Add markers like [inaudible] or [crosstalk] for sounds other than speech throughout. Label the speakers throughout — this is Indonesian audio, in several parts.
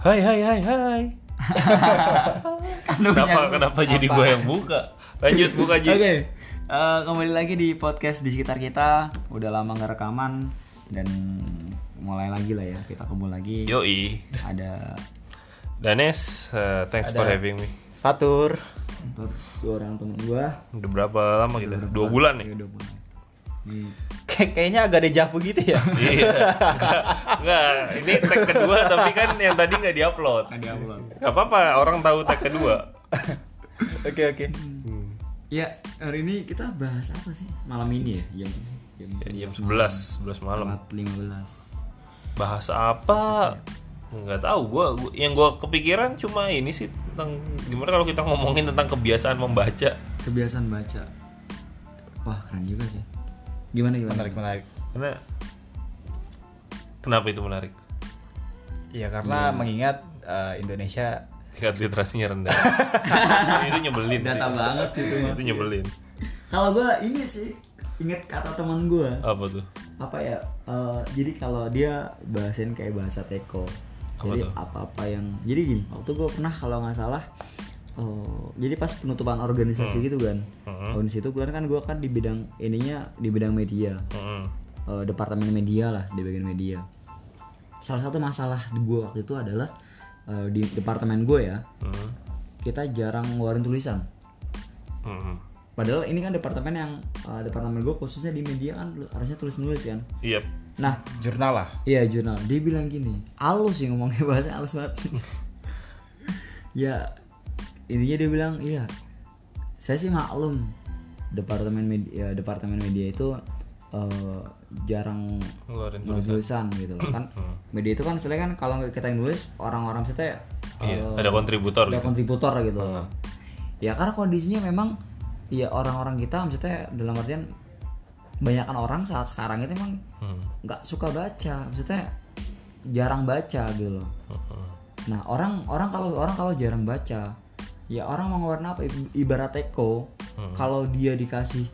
Speaker 1: Hai hai hai hai.
Speaker 2: Kandungnya
Speaker 1: Kenapa
Speaker 2: gua.
Speaker 1: kenapa jadi gue yang buka? Lanjut buka
Speaker 2: [laughs] Oke.
Speaker 1: aja.
Speaker 2: Eh, kembali lagi di podcast di sekitar kita. Udah lama nggak rekaman dan mulai lagi lah ya. Kita kumpul lagi.
Speaker 1: Yoi.
Speaker 2: Ada
Speaker 1: Danes, eh, thanks for having me.
Speaker 3: Fatur.
Speaker 2: untuk dua orang temen gua.
Speaker 1: Udah berapa lama kita? Dua bulan ya? nih.
Speaker 2: Iya, dua bulan. Di-
Speaker 3: Kay- kayaknya agak dejavu gitu ya.
Speaker 1: Iya. Enggak, ini tag kedua tapi kan yang tadi nggak diupload.
Speaker 2: [laughs] ada upload.
Speaker 1: Gak apa-apa, orang tahu tag kedua.
Speaker 3: [laughs] Oke oke.
Speaker 2: Ya, hari ini kita bahas apa sih? Malam ini ya, jam jam,
Speaker 1: Ya, Jam 11, 11 malam.
Speaker 2: 15.
Speaker 1: Bahas apa? Nggak tahu gua, gua- yang gua kepikiran cuma ini sih tentang gimana kalau kita ngomongin tentang kebiasaan membaca.
Speaker 2: Kebiasaan baca. Wah, keren juga sih. Gimana gimana?
Speaker 3: Menarik menarik.
Speaker 1: Karena kenapa itu menarik?
Speaker 3: Iya karena mengingat eh, Indonesia
Speaker 1: Tingkat literasinya rendah. itu nyebelin.
Speaker 2: Data
Speaker 1: sih.
Speaker 2: banget sih itu.
Speaker 1: Itu nyebelin.
Speaker 2: Kalau gua ini sih inget kata teman gua.
Speaker 1: Apa tuh?
Speaker 2: apa ya eh, jadi kalau dia bahasin kayak bahasa teko
Speaker 1: Apa
Speaker 2: jadi
Speaker 1: tuh?
Speaker 2: apa-apa yang jadi gini waktu gue pernah kalau nggak salah eh, jadi pas penutupan organisasi gitu kan
Speaker 1: Hmm.
Speaker 2: tahun situ kebetulan kan gue kan di bidang ininya di bidang media
Speaker 1: Mm-mm.
Speaker 2: eh, departemen media lah di bagian media salah satu masalah di gue waktu itu adalah eh, di departemen gue ya
Speaker 1: Mm.
Speaker 2: kita jarang ngeluarin tulisan
Speaker 1: Mm-mm.
Speaker 2: padahal ini kan departemen yang eh, departemen gue khususnya di media kan harusnya tulis nulis kan
Speaker 1: Iya.
Speaker 2: nah
Speaker 3: jurnal lah.
Speaker 2: Iya jurnal. Dia bilang gini, alus sih ngomongnya [laughs] bahasa alus banget. ya intinya dia bilang iya. Saya sih maklum departemen media departemen media itu eh, jarang
Speaker 1: Ngeluarin
Speaker 2: nulis tulisan gitu loh kan. Media itu kan sebenarnya kan kalau kita yang nulis orang-orang kita
Speaker 1: Iya, ada kontributor
Speaker 2: ada
Speaker 1: gitu.
Speaker 2: kontributor gitu loh. Ya karena kondisinya memang ya orang-orang kita maksudnya dalam artian banyakkan orang saat sekarang itu emang
Speaker 1: Hmm.
Speaker 2: nggak suka baca maksudnya jarang baca gitu loh
Speaker 1: Mm-mm.
Speaker 2: nah orang orang kalau orang kalau jarang baca ya orang mau ngeluarin apa Ib- ibarat teko kalau dia dikasih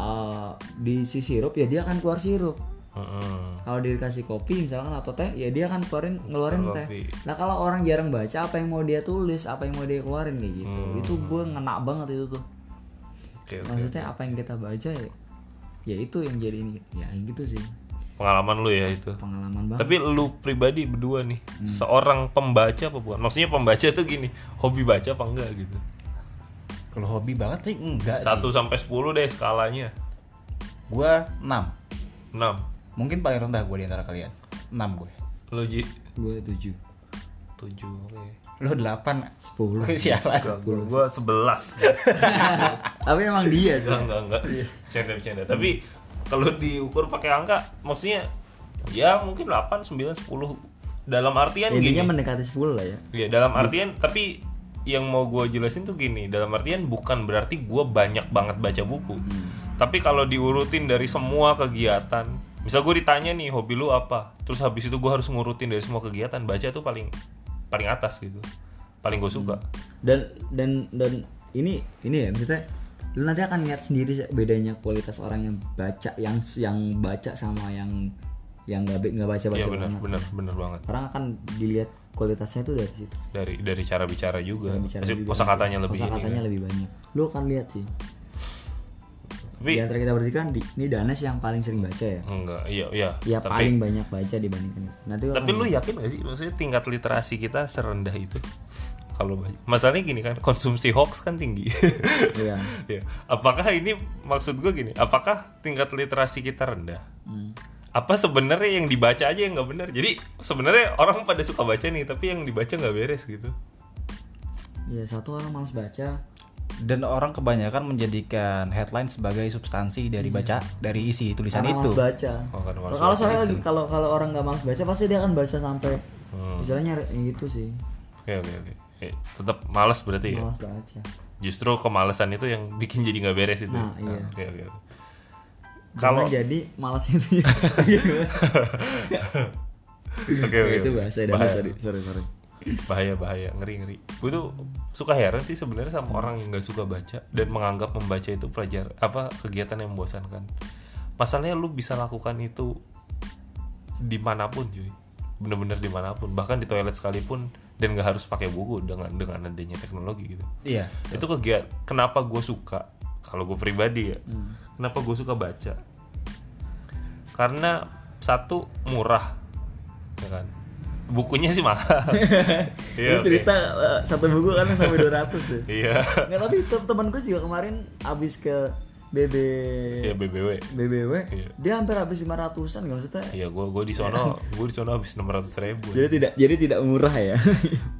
Speaker 2: eh, diisi sirup ya dia akan keluar sirup
Speaker 1: Mm-mm.
Speaker 2: kalau dia dikasih kopi misalkan atau teh ya dia akan keluarin ngeluarin
Speaker 1: Kopi.
Speaker 2: teh nah kalau orang jarang baca apa yang mau dia tulis apa yang mau dia keluarin kayak gitu itu gue ngena banget itu tuh
Speaker 1: Oke, Hmm. Iya, oke.
Speaker 2: maksudnya apa yang kita baca ya ya itu yang jadi ini ya yang gitu sih
Speaker 1: Pengalaman lu ya itu.
Speaker 2: pengalaman banget
Speaker 1: Tapi lu pribadi berdua nih, seorang pembaca apa bukan? Maksudnya pembaca tuh gini, hobi baca apa enggak gitu?
Speaker 3: Kalau hobi banget sih enggak sih.
Speaker 1: Satu sampai 10 deh skalanya.
Speaker 3: Gua 6.
Speaker 1: 6.
Speaker 3: Mungkin paling rendah gua di antara kalian. 6 gue.
Speaker 1: Lu Ji
Speaker 2: gue tujuh
Speaker 1: 7. Oke.
Speaker 3: Lu 8.
Speaker 1: [laughs]
Speaker 2: sepuluh
Speaker 3: Sialan.
Speaker 1: Gua- Gua 11.
Speaker 2: [laughs] tapi emang dia
Speaker 1: [laughs]
Speaker 2: sih
Speaker 1: enggak enggak enggak bercanda bercanda tapi kalau diukur pakai angka maksudnya ya mungkin 8 9 10 dalam artian gini
Speaker 2: intinya mendekati 10 lah ya
Speaker 1: ya dalam artian tapi yang mau gue jelasin tuh gini dalam artian bukan berarti gue banyak banget baca buku tapi kalau diurutin dari semua kegiatan misal gue ditanya nih hobi lu apa terus habis itu gue harus ngurutin dari semua kegiatan baca tuh paling paling atas gitu paling gue suka
Speaker 2: Hmm. dan dan dan ini ini ya maksudnya lu nanti akan lihat sendiri sih bedanya kualitas orang yang baca yang yang baca sama yang yang nggak be- nggak baca baca
Speaker 1: iya benar benar benar banget
Speaker 2: orang akan dilihat kualitasnya itu dari situ
Speaker 1: dari dari cara bicara juga
Speaker 2: bicara
Speaker 1: pasti
Speaker 2: juga.
Speaker 1: kosakatanya lebih ini kan.
Speaker 2: katanya lebih banyak lu akan lihat sih
Speaker 1: tapi
Speaker 2: di antara kita berarti kan di, ini Danes yang paling sering baca ya
Speaker 1: enggak iya iya
Speaker 2: ya
Speaker 1: tapi
Speaker 2: paling banyak baca dibandingkan nanti lu
Speaker 1: tapi
Speaker 2: akan-
Speaker 1: lu yakin gak sih maksudnya tingkat literasi kita serendah itu kalau baca- masalahnya gini kan konsumsi hoax kan tinggi [laughs]
Speaker 2: Iya.
Speaker 1: Ya. apakah ini maksud gue gini apakah tingkat literasi kita rendah
Speaker 2: Hmm.
Speaker 1: apa sebenarnya yang dibaca aja yang nggak benar jadi sebenarnya orang pada suka baca nih tapi yang dibaca nggak beres gitu
Speaker 2: ya satu orang malas baca
Speaker 3: Dan orang kebanyakan menjadikan headline sebagai substansi dari baca dari isi tulisan
Speaker 2: karena
Speaker 3: itu.
Speaker 2: malas Ah, baca.
Speaker 1: Oh, karena malas
Speaker 2: kalau soalnya lagi kalau kalau orang nggak malas baca pasti dia akan baca sampai
Speaker 1: Hmm.
Speaker 2: misalnya gitu sih
Speaker 1: oke oke oke Eh, tetap malas berarti ya
Speaker 2: malas baca.
Speaker 1: justru kemalasan itu yang bikin jadi nggak beres itu
Speaker 2: Nah,
Speaker 1: ya?
Speaker 2: iya.
Speaker 1: oke oke oke.
Speaker 2: Kalau
Speaker 1: kalau
Speaker 2: jadi malas itu. ya.
Speaker 1: [laughs] oke oke, oke.
Speaker 2: itu bahasa dan
Speaker 1: Bahaya.
Speaker 2: sorry sorry sorry.
Speaker 1: bahaya bahaya ngeri ngeri gue tuh suka heran sih sebenarnya sama orang yang nggak suka baca dan menganggap membaca itu pelajar apa kegiatan yang membosankan masalahnya lu bisa lakukan itu dimanapun cuy bener-bener dimanapun bahkan di toilet sekalipun dan nggak harus pakai buku dengan dengan adanya teknologi gitu
Speaker 3: Iya.
Speaker 1: itu kegiatan kenapa gue suka kalau gue pribadi ya
Speaker 2: Hmm.
Speaker 1: kenapa gue suka baca karena satu murah ya kan bukunya sih mahal
Speaker 2: [laughs] Lu
Speaker 1: Iya, oke.
Speaker 2: cerita eh, satu buku kan
Speaker 1: [laughs]
Speaker 2: sampai 200 ya.
Speaker 1: iya
Speaker 2: Nggak, tapi te- temen gue juga kemarin abis ke BB
Speaker 1: iya BBW
Speaker 2: BBW,
Speaker 1: Iya.
Speaker 2: dia hampir habis 500-an nggak maksudnya.
Speaker 1: iya gue gue di sono
Speaker 2: [laughs]
Speaker 1: gue di sono habis enam ratus ribu
Speaker 2: Jadi tidak jadi tidak murah ya.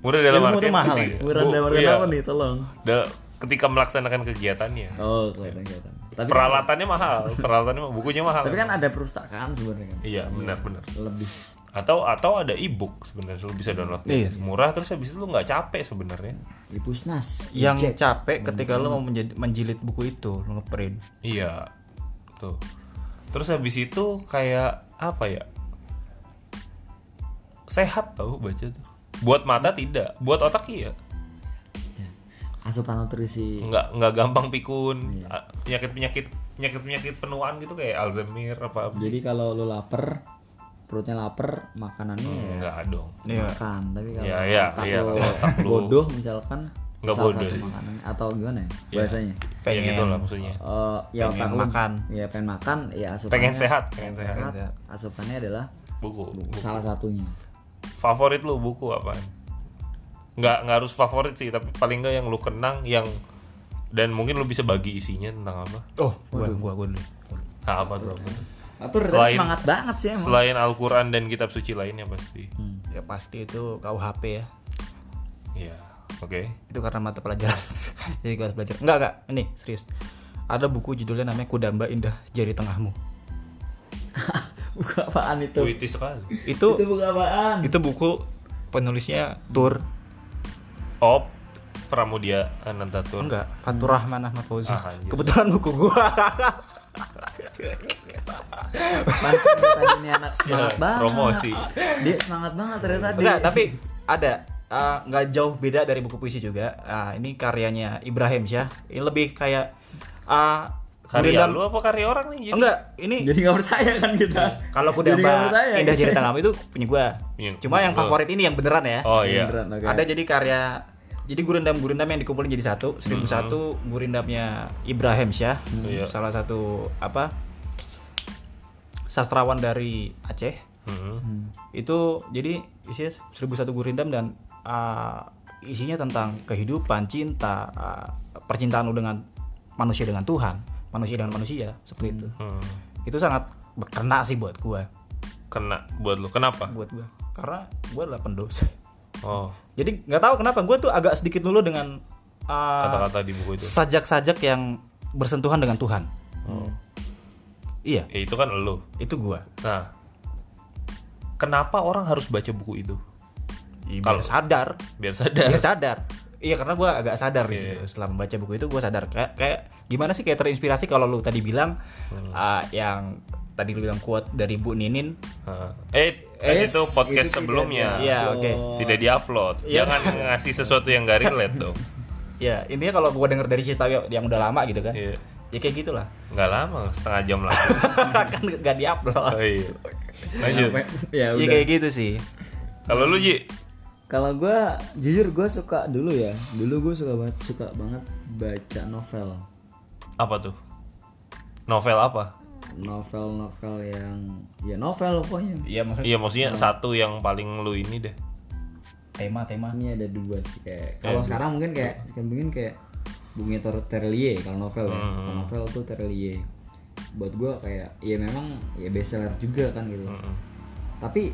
Speaker 1: murah dalam
Speaker 3: Ilmu tuh
Speaker 1: artian
Speaker 3: mahal
Speaker 1: ketika-
Speaker 2: murah
Speaker 1: bu-
Speaker 2: dalam artian
Speaker 1: iya,
Speaker 2: apa nih, tolong.
Speaker 1: da- ketika melaksanakan kegiatannya
Speaker 2: Oh, kelihatan kelihatan. Tapi
Speaker 1: peralatannya mahal peralatannya ma- bukunya mahal
Speaker 2: tapi kan ada perpustakaan sebenarnya kan.
Speaker 1: iya benar benar
Speaker 2: Lebih.
Speaker 1: atau atau ada e-book sebenarnya lu bisa download
Speaker 3: Iya.
Speaker 1: murah terus habis itu lu nggak capek sebenarnya
Speaker 2: Di Pusnas.
Speaker 3: Yang capek ketika lu mau menjadi- menjilid buku itu, lu ngeprint.
Speaker 1: iya tuh terus habis itu kayak apa ya sehat tau baca tuh buat mata tidak buat otak iya
Speaker 2: Asupan nutrisi.
Speaker 1: nggak nggak gampang pikun penyakit penyakit penyakit penyakit penuaan gitu kayak Alzheimer apa
Speaker 2: Jadi kalau lu lapar, perutnya lapar, makanannya
Speaker 1: nggak dong
Speaker 2: makan. Tapi kalau
Speaker 1: Hmm. Iya, iya,
Speaker 2: otak
Speaker 1: iya,
Speaker 2: lu
Speaker 1: kalau otak lu-
Speaker 2: bodoh misalkan
Speaker 1: Nggak
Speaker 2: salah
Speaker 1: bodoh. Iya.
Speaker 2: satu makanannya atau gimana ya bahasanya?
Speaker 1: pengen
Speaker 3: Pengen.
Speaker 1: gitu lah maksudnya
Speaker 2: Eh, ya
Speaker 3: Pengen
Speaker 2: otak lu-
Speaker 3: makan.
Speaker 2: ya pengen makan, ya asupannya
Speaker 1: pengen sehat pengen sehat
Speaker 2: sehat, Asupannya adalah
Speaker 1: buku
Speaker 2: salah satunya.
Speaker 1: favorit lu buku apaan? Nggak nggak harus favorit sih, tapi paling nggak yang lu kenang yang dan mungkin lu bisa bagi isinya tentang apa?
Speaker 3: Oh, gua gua gua dulu.
Speaker 1: Nah, apa tuh? apa tuh?
Speaker 2: Atur
Speaker 1: Selain-
Speaker 2: semangat banget sih emang.
Speaker 1: Selain Al-Qur'an dan kitab suci lainnya pasti.
Speaker 3: Ya pasti itu KUHP ya.
Speaker 1: Iya. Oke.
Speaker 3: Itu karena mata pelajaran. [laughs] Jadi gua harus belajar. Enggak, enggak. Ini serius. Ada buku judulnya namanya Kudamba Indah Jari Tengahmu.
Speaker 2: [laughs] buka apaan itu?
Speaker 1: Puitis sekali.
Speaker 3: Itu
Speaker 2: Itu buka apaan?
Speaker 3: itu buku penulisnya Tur
Speaker 1: Op Pramudia Anantatur.
Speaker 3: enggak Fatur Rahman Ahmad Fauzi
Speaker 1: Ah, anjir.
Speaker 3: kebetulan buku gua [laughs]
Speaker 2: Apaan sih tadi ini anak semangat
Speaker 1: Silakan,
Speaker 2: banget.
Speaker 1: promosi.
Speaker 2: Dia semangat banget ternyata dia.
Speaker 3: Iya, enggak tapi ada eh, enggak jauh beda dari buku puisi juga Ah, ini karyanya Ibrahim Syah ini lebih kayak ah
Speaker 1: Karya
Speaker 3: gurindam-
Speaker 1: lu apa karya orang nih?
Speaker 3: enggak ini
Speaker 2: Jadi nggak percaya kan kita.
Speaker 3: kalau aku
Speaker 2: Jadi nggak
Speaker 3: damba
Speaker 2: percaya.
Speaker 3: indah
Speaker 2: gitu.
Speaker 3: jari
Speaker 2: [laughs]
Speaker 3: tanganmu itu punya gua
Speaker 1: Punya-
Speaker 3: cuma yang
Speaker 1: punya gua.
Speaker 3: favorit ini yang beneran ya
Speaker 1: Oh iya.
Speaker 2: Beneran, oke.
Speaker 3: ada jadi karya jadi gurindam-gurindam yang dikumpulin jadi satu 1001 gurindamnya Ibrahim Syah
Speaker 1: Hmm. Iya.
Speaker 3: salah satu apa sastrawan dari Aceh
Speaker 1: Mhm.
Speaker 3: itu jadi isinya 1001 gurindam dan uh, isinya tentang kehidupan cinta uh, percintaan lu dengan manusia dengan Tuhan manusia dengan manusia seperti itu
Speaker 1: Hmm.
Speaker 3: itu sangat berkena sih buat gua
Speaker 1: Kena buat lu. Kenapa?
Speaker 3: buat gua karena gua adalah pendosa [laughs]
Speaker 1: Oh,
Speaker 3: jadi nggak tahu kenapa gue tuh agak sedikit dulu dengan uh,
Speaker 1: kata-kata di buku itu.
Speaker 3: sajak-sajak yang bersentuhan dengan Tuhan.
Speaker 1: Oh.
Speaker 3: Iya,
Speaker 1: Ya itu kan lu.
Speaker 3: itu gue.
Speaker 1: Nah, kenapa orang harus baca buku itu?
Speaker 3: Kalau sadar,
Speaker 1: Biar sadar.
Speaker 3: ya sadar. Iya karena gue agak sadar di
Speaker 1: Iya,
Speaker 3: situ. Setelah membaca buku itu gue sadar kayak kayak gimana sih kayak terinspirasi kalau lu tadi bilang uh, yang tadi lu bilang quote dari Bu Ninin.
Speaker 1: Heeh. Eh, kan Oh.
Speaker 3: Eh,
Speaker 1: itu podcast sebelumnya.
Speaker 3: Iya, oke.
Speaker 1: Tidak diupload.
Speaker 2: Iya.
Speaker 1: Jangan ngasih sesuatu yang gak relate dong.
Speaker 3: Ya intinya kalau gue denger dari cerita yang udah lama gitu kan.
Speaker 1: Iya.
Speaker 3: Ya kayak gitulah. [laughs]
Speaker 1: Nggak lama, setengah jam
Speaker 2: [laughs]
Speaker 1: lagi.
Speaker 3: kan gak diupload.
Speaker 1: Oh, iya. Lanjut.
Speaker 2: ya
Speaker 3: Iya
Speaker 2: udah.
Speaker 3: kayak gitu sih.
Speaker 1: Kalau lu Ji,
Speaker 2: Kalau gue jujur gue suka dulu ya. Dulu gue suka banget suka banget baca novel.
Speaker 1: apa tuh? Novel apa?
Speaker 2: Novel-novel yang ya novel pokoknya.
Speaker 3: Iya maksudnya
Speaker 1: Iya maksudnya satu yang paling lu ini deh.
Speaker 3: tema tema
Speaker 2: Ini ada dua sih kayak kalau sekarang mungkin kayak kan mungkin kayak bunga Ter- Terlie kalau novel ya. Kalau novel tuh Terlie. Buat gua kayak ya memang ya bestseller juga kan gitu. Tapi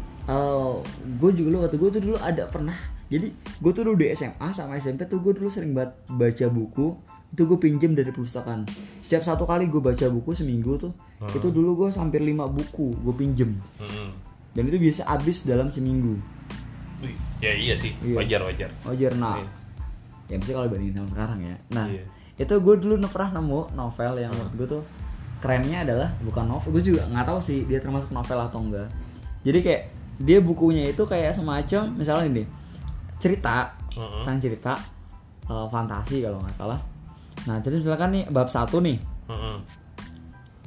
Speaker 2: gue juga dulu waktu gue tuh dulu ada pernah jadi gue tuh dulu di SMA sama SMP tuh gue dulu sering banget baca buku itu gue pinjem dari perpustakaan setiap satu kali gue baca buku seminggu tuh itu dulu gue hampir lima buku gue pinjem
Speaker 1: Mhm.
Speaker 2: dan itu biasa habis dalam seminggu
Speaker 1: Wih, Ya iya sih, wajar wajar.
Speaker 2: Ojer nah ya mesti kalau dibandingin sama sekarang ya nah
Speaker 1: Iya.
Speaker 2: itu gue dulu ne- pernah nemu novel yang menurut gue tuh kerennya adalah bukan novel gue juga nggak tahu sih dia termasuk novel atau enggak jadi kayak dia bukunya itu kayak semacam misalnya ini cerita tentang cerita eh, fantasi kalau nggak salah nah jadi misalkan nih bab satu nih
Speaker 1: Mhm.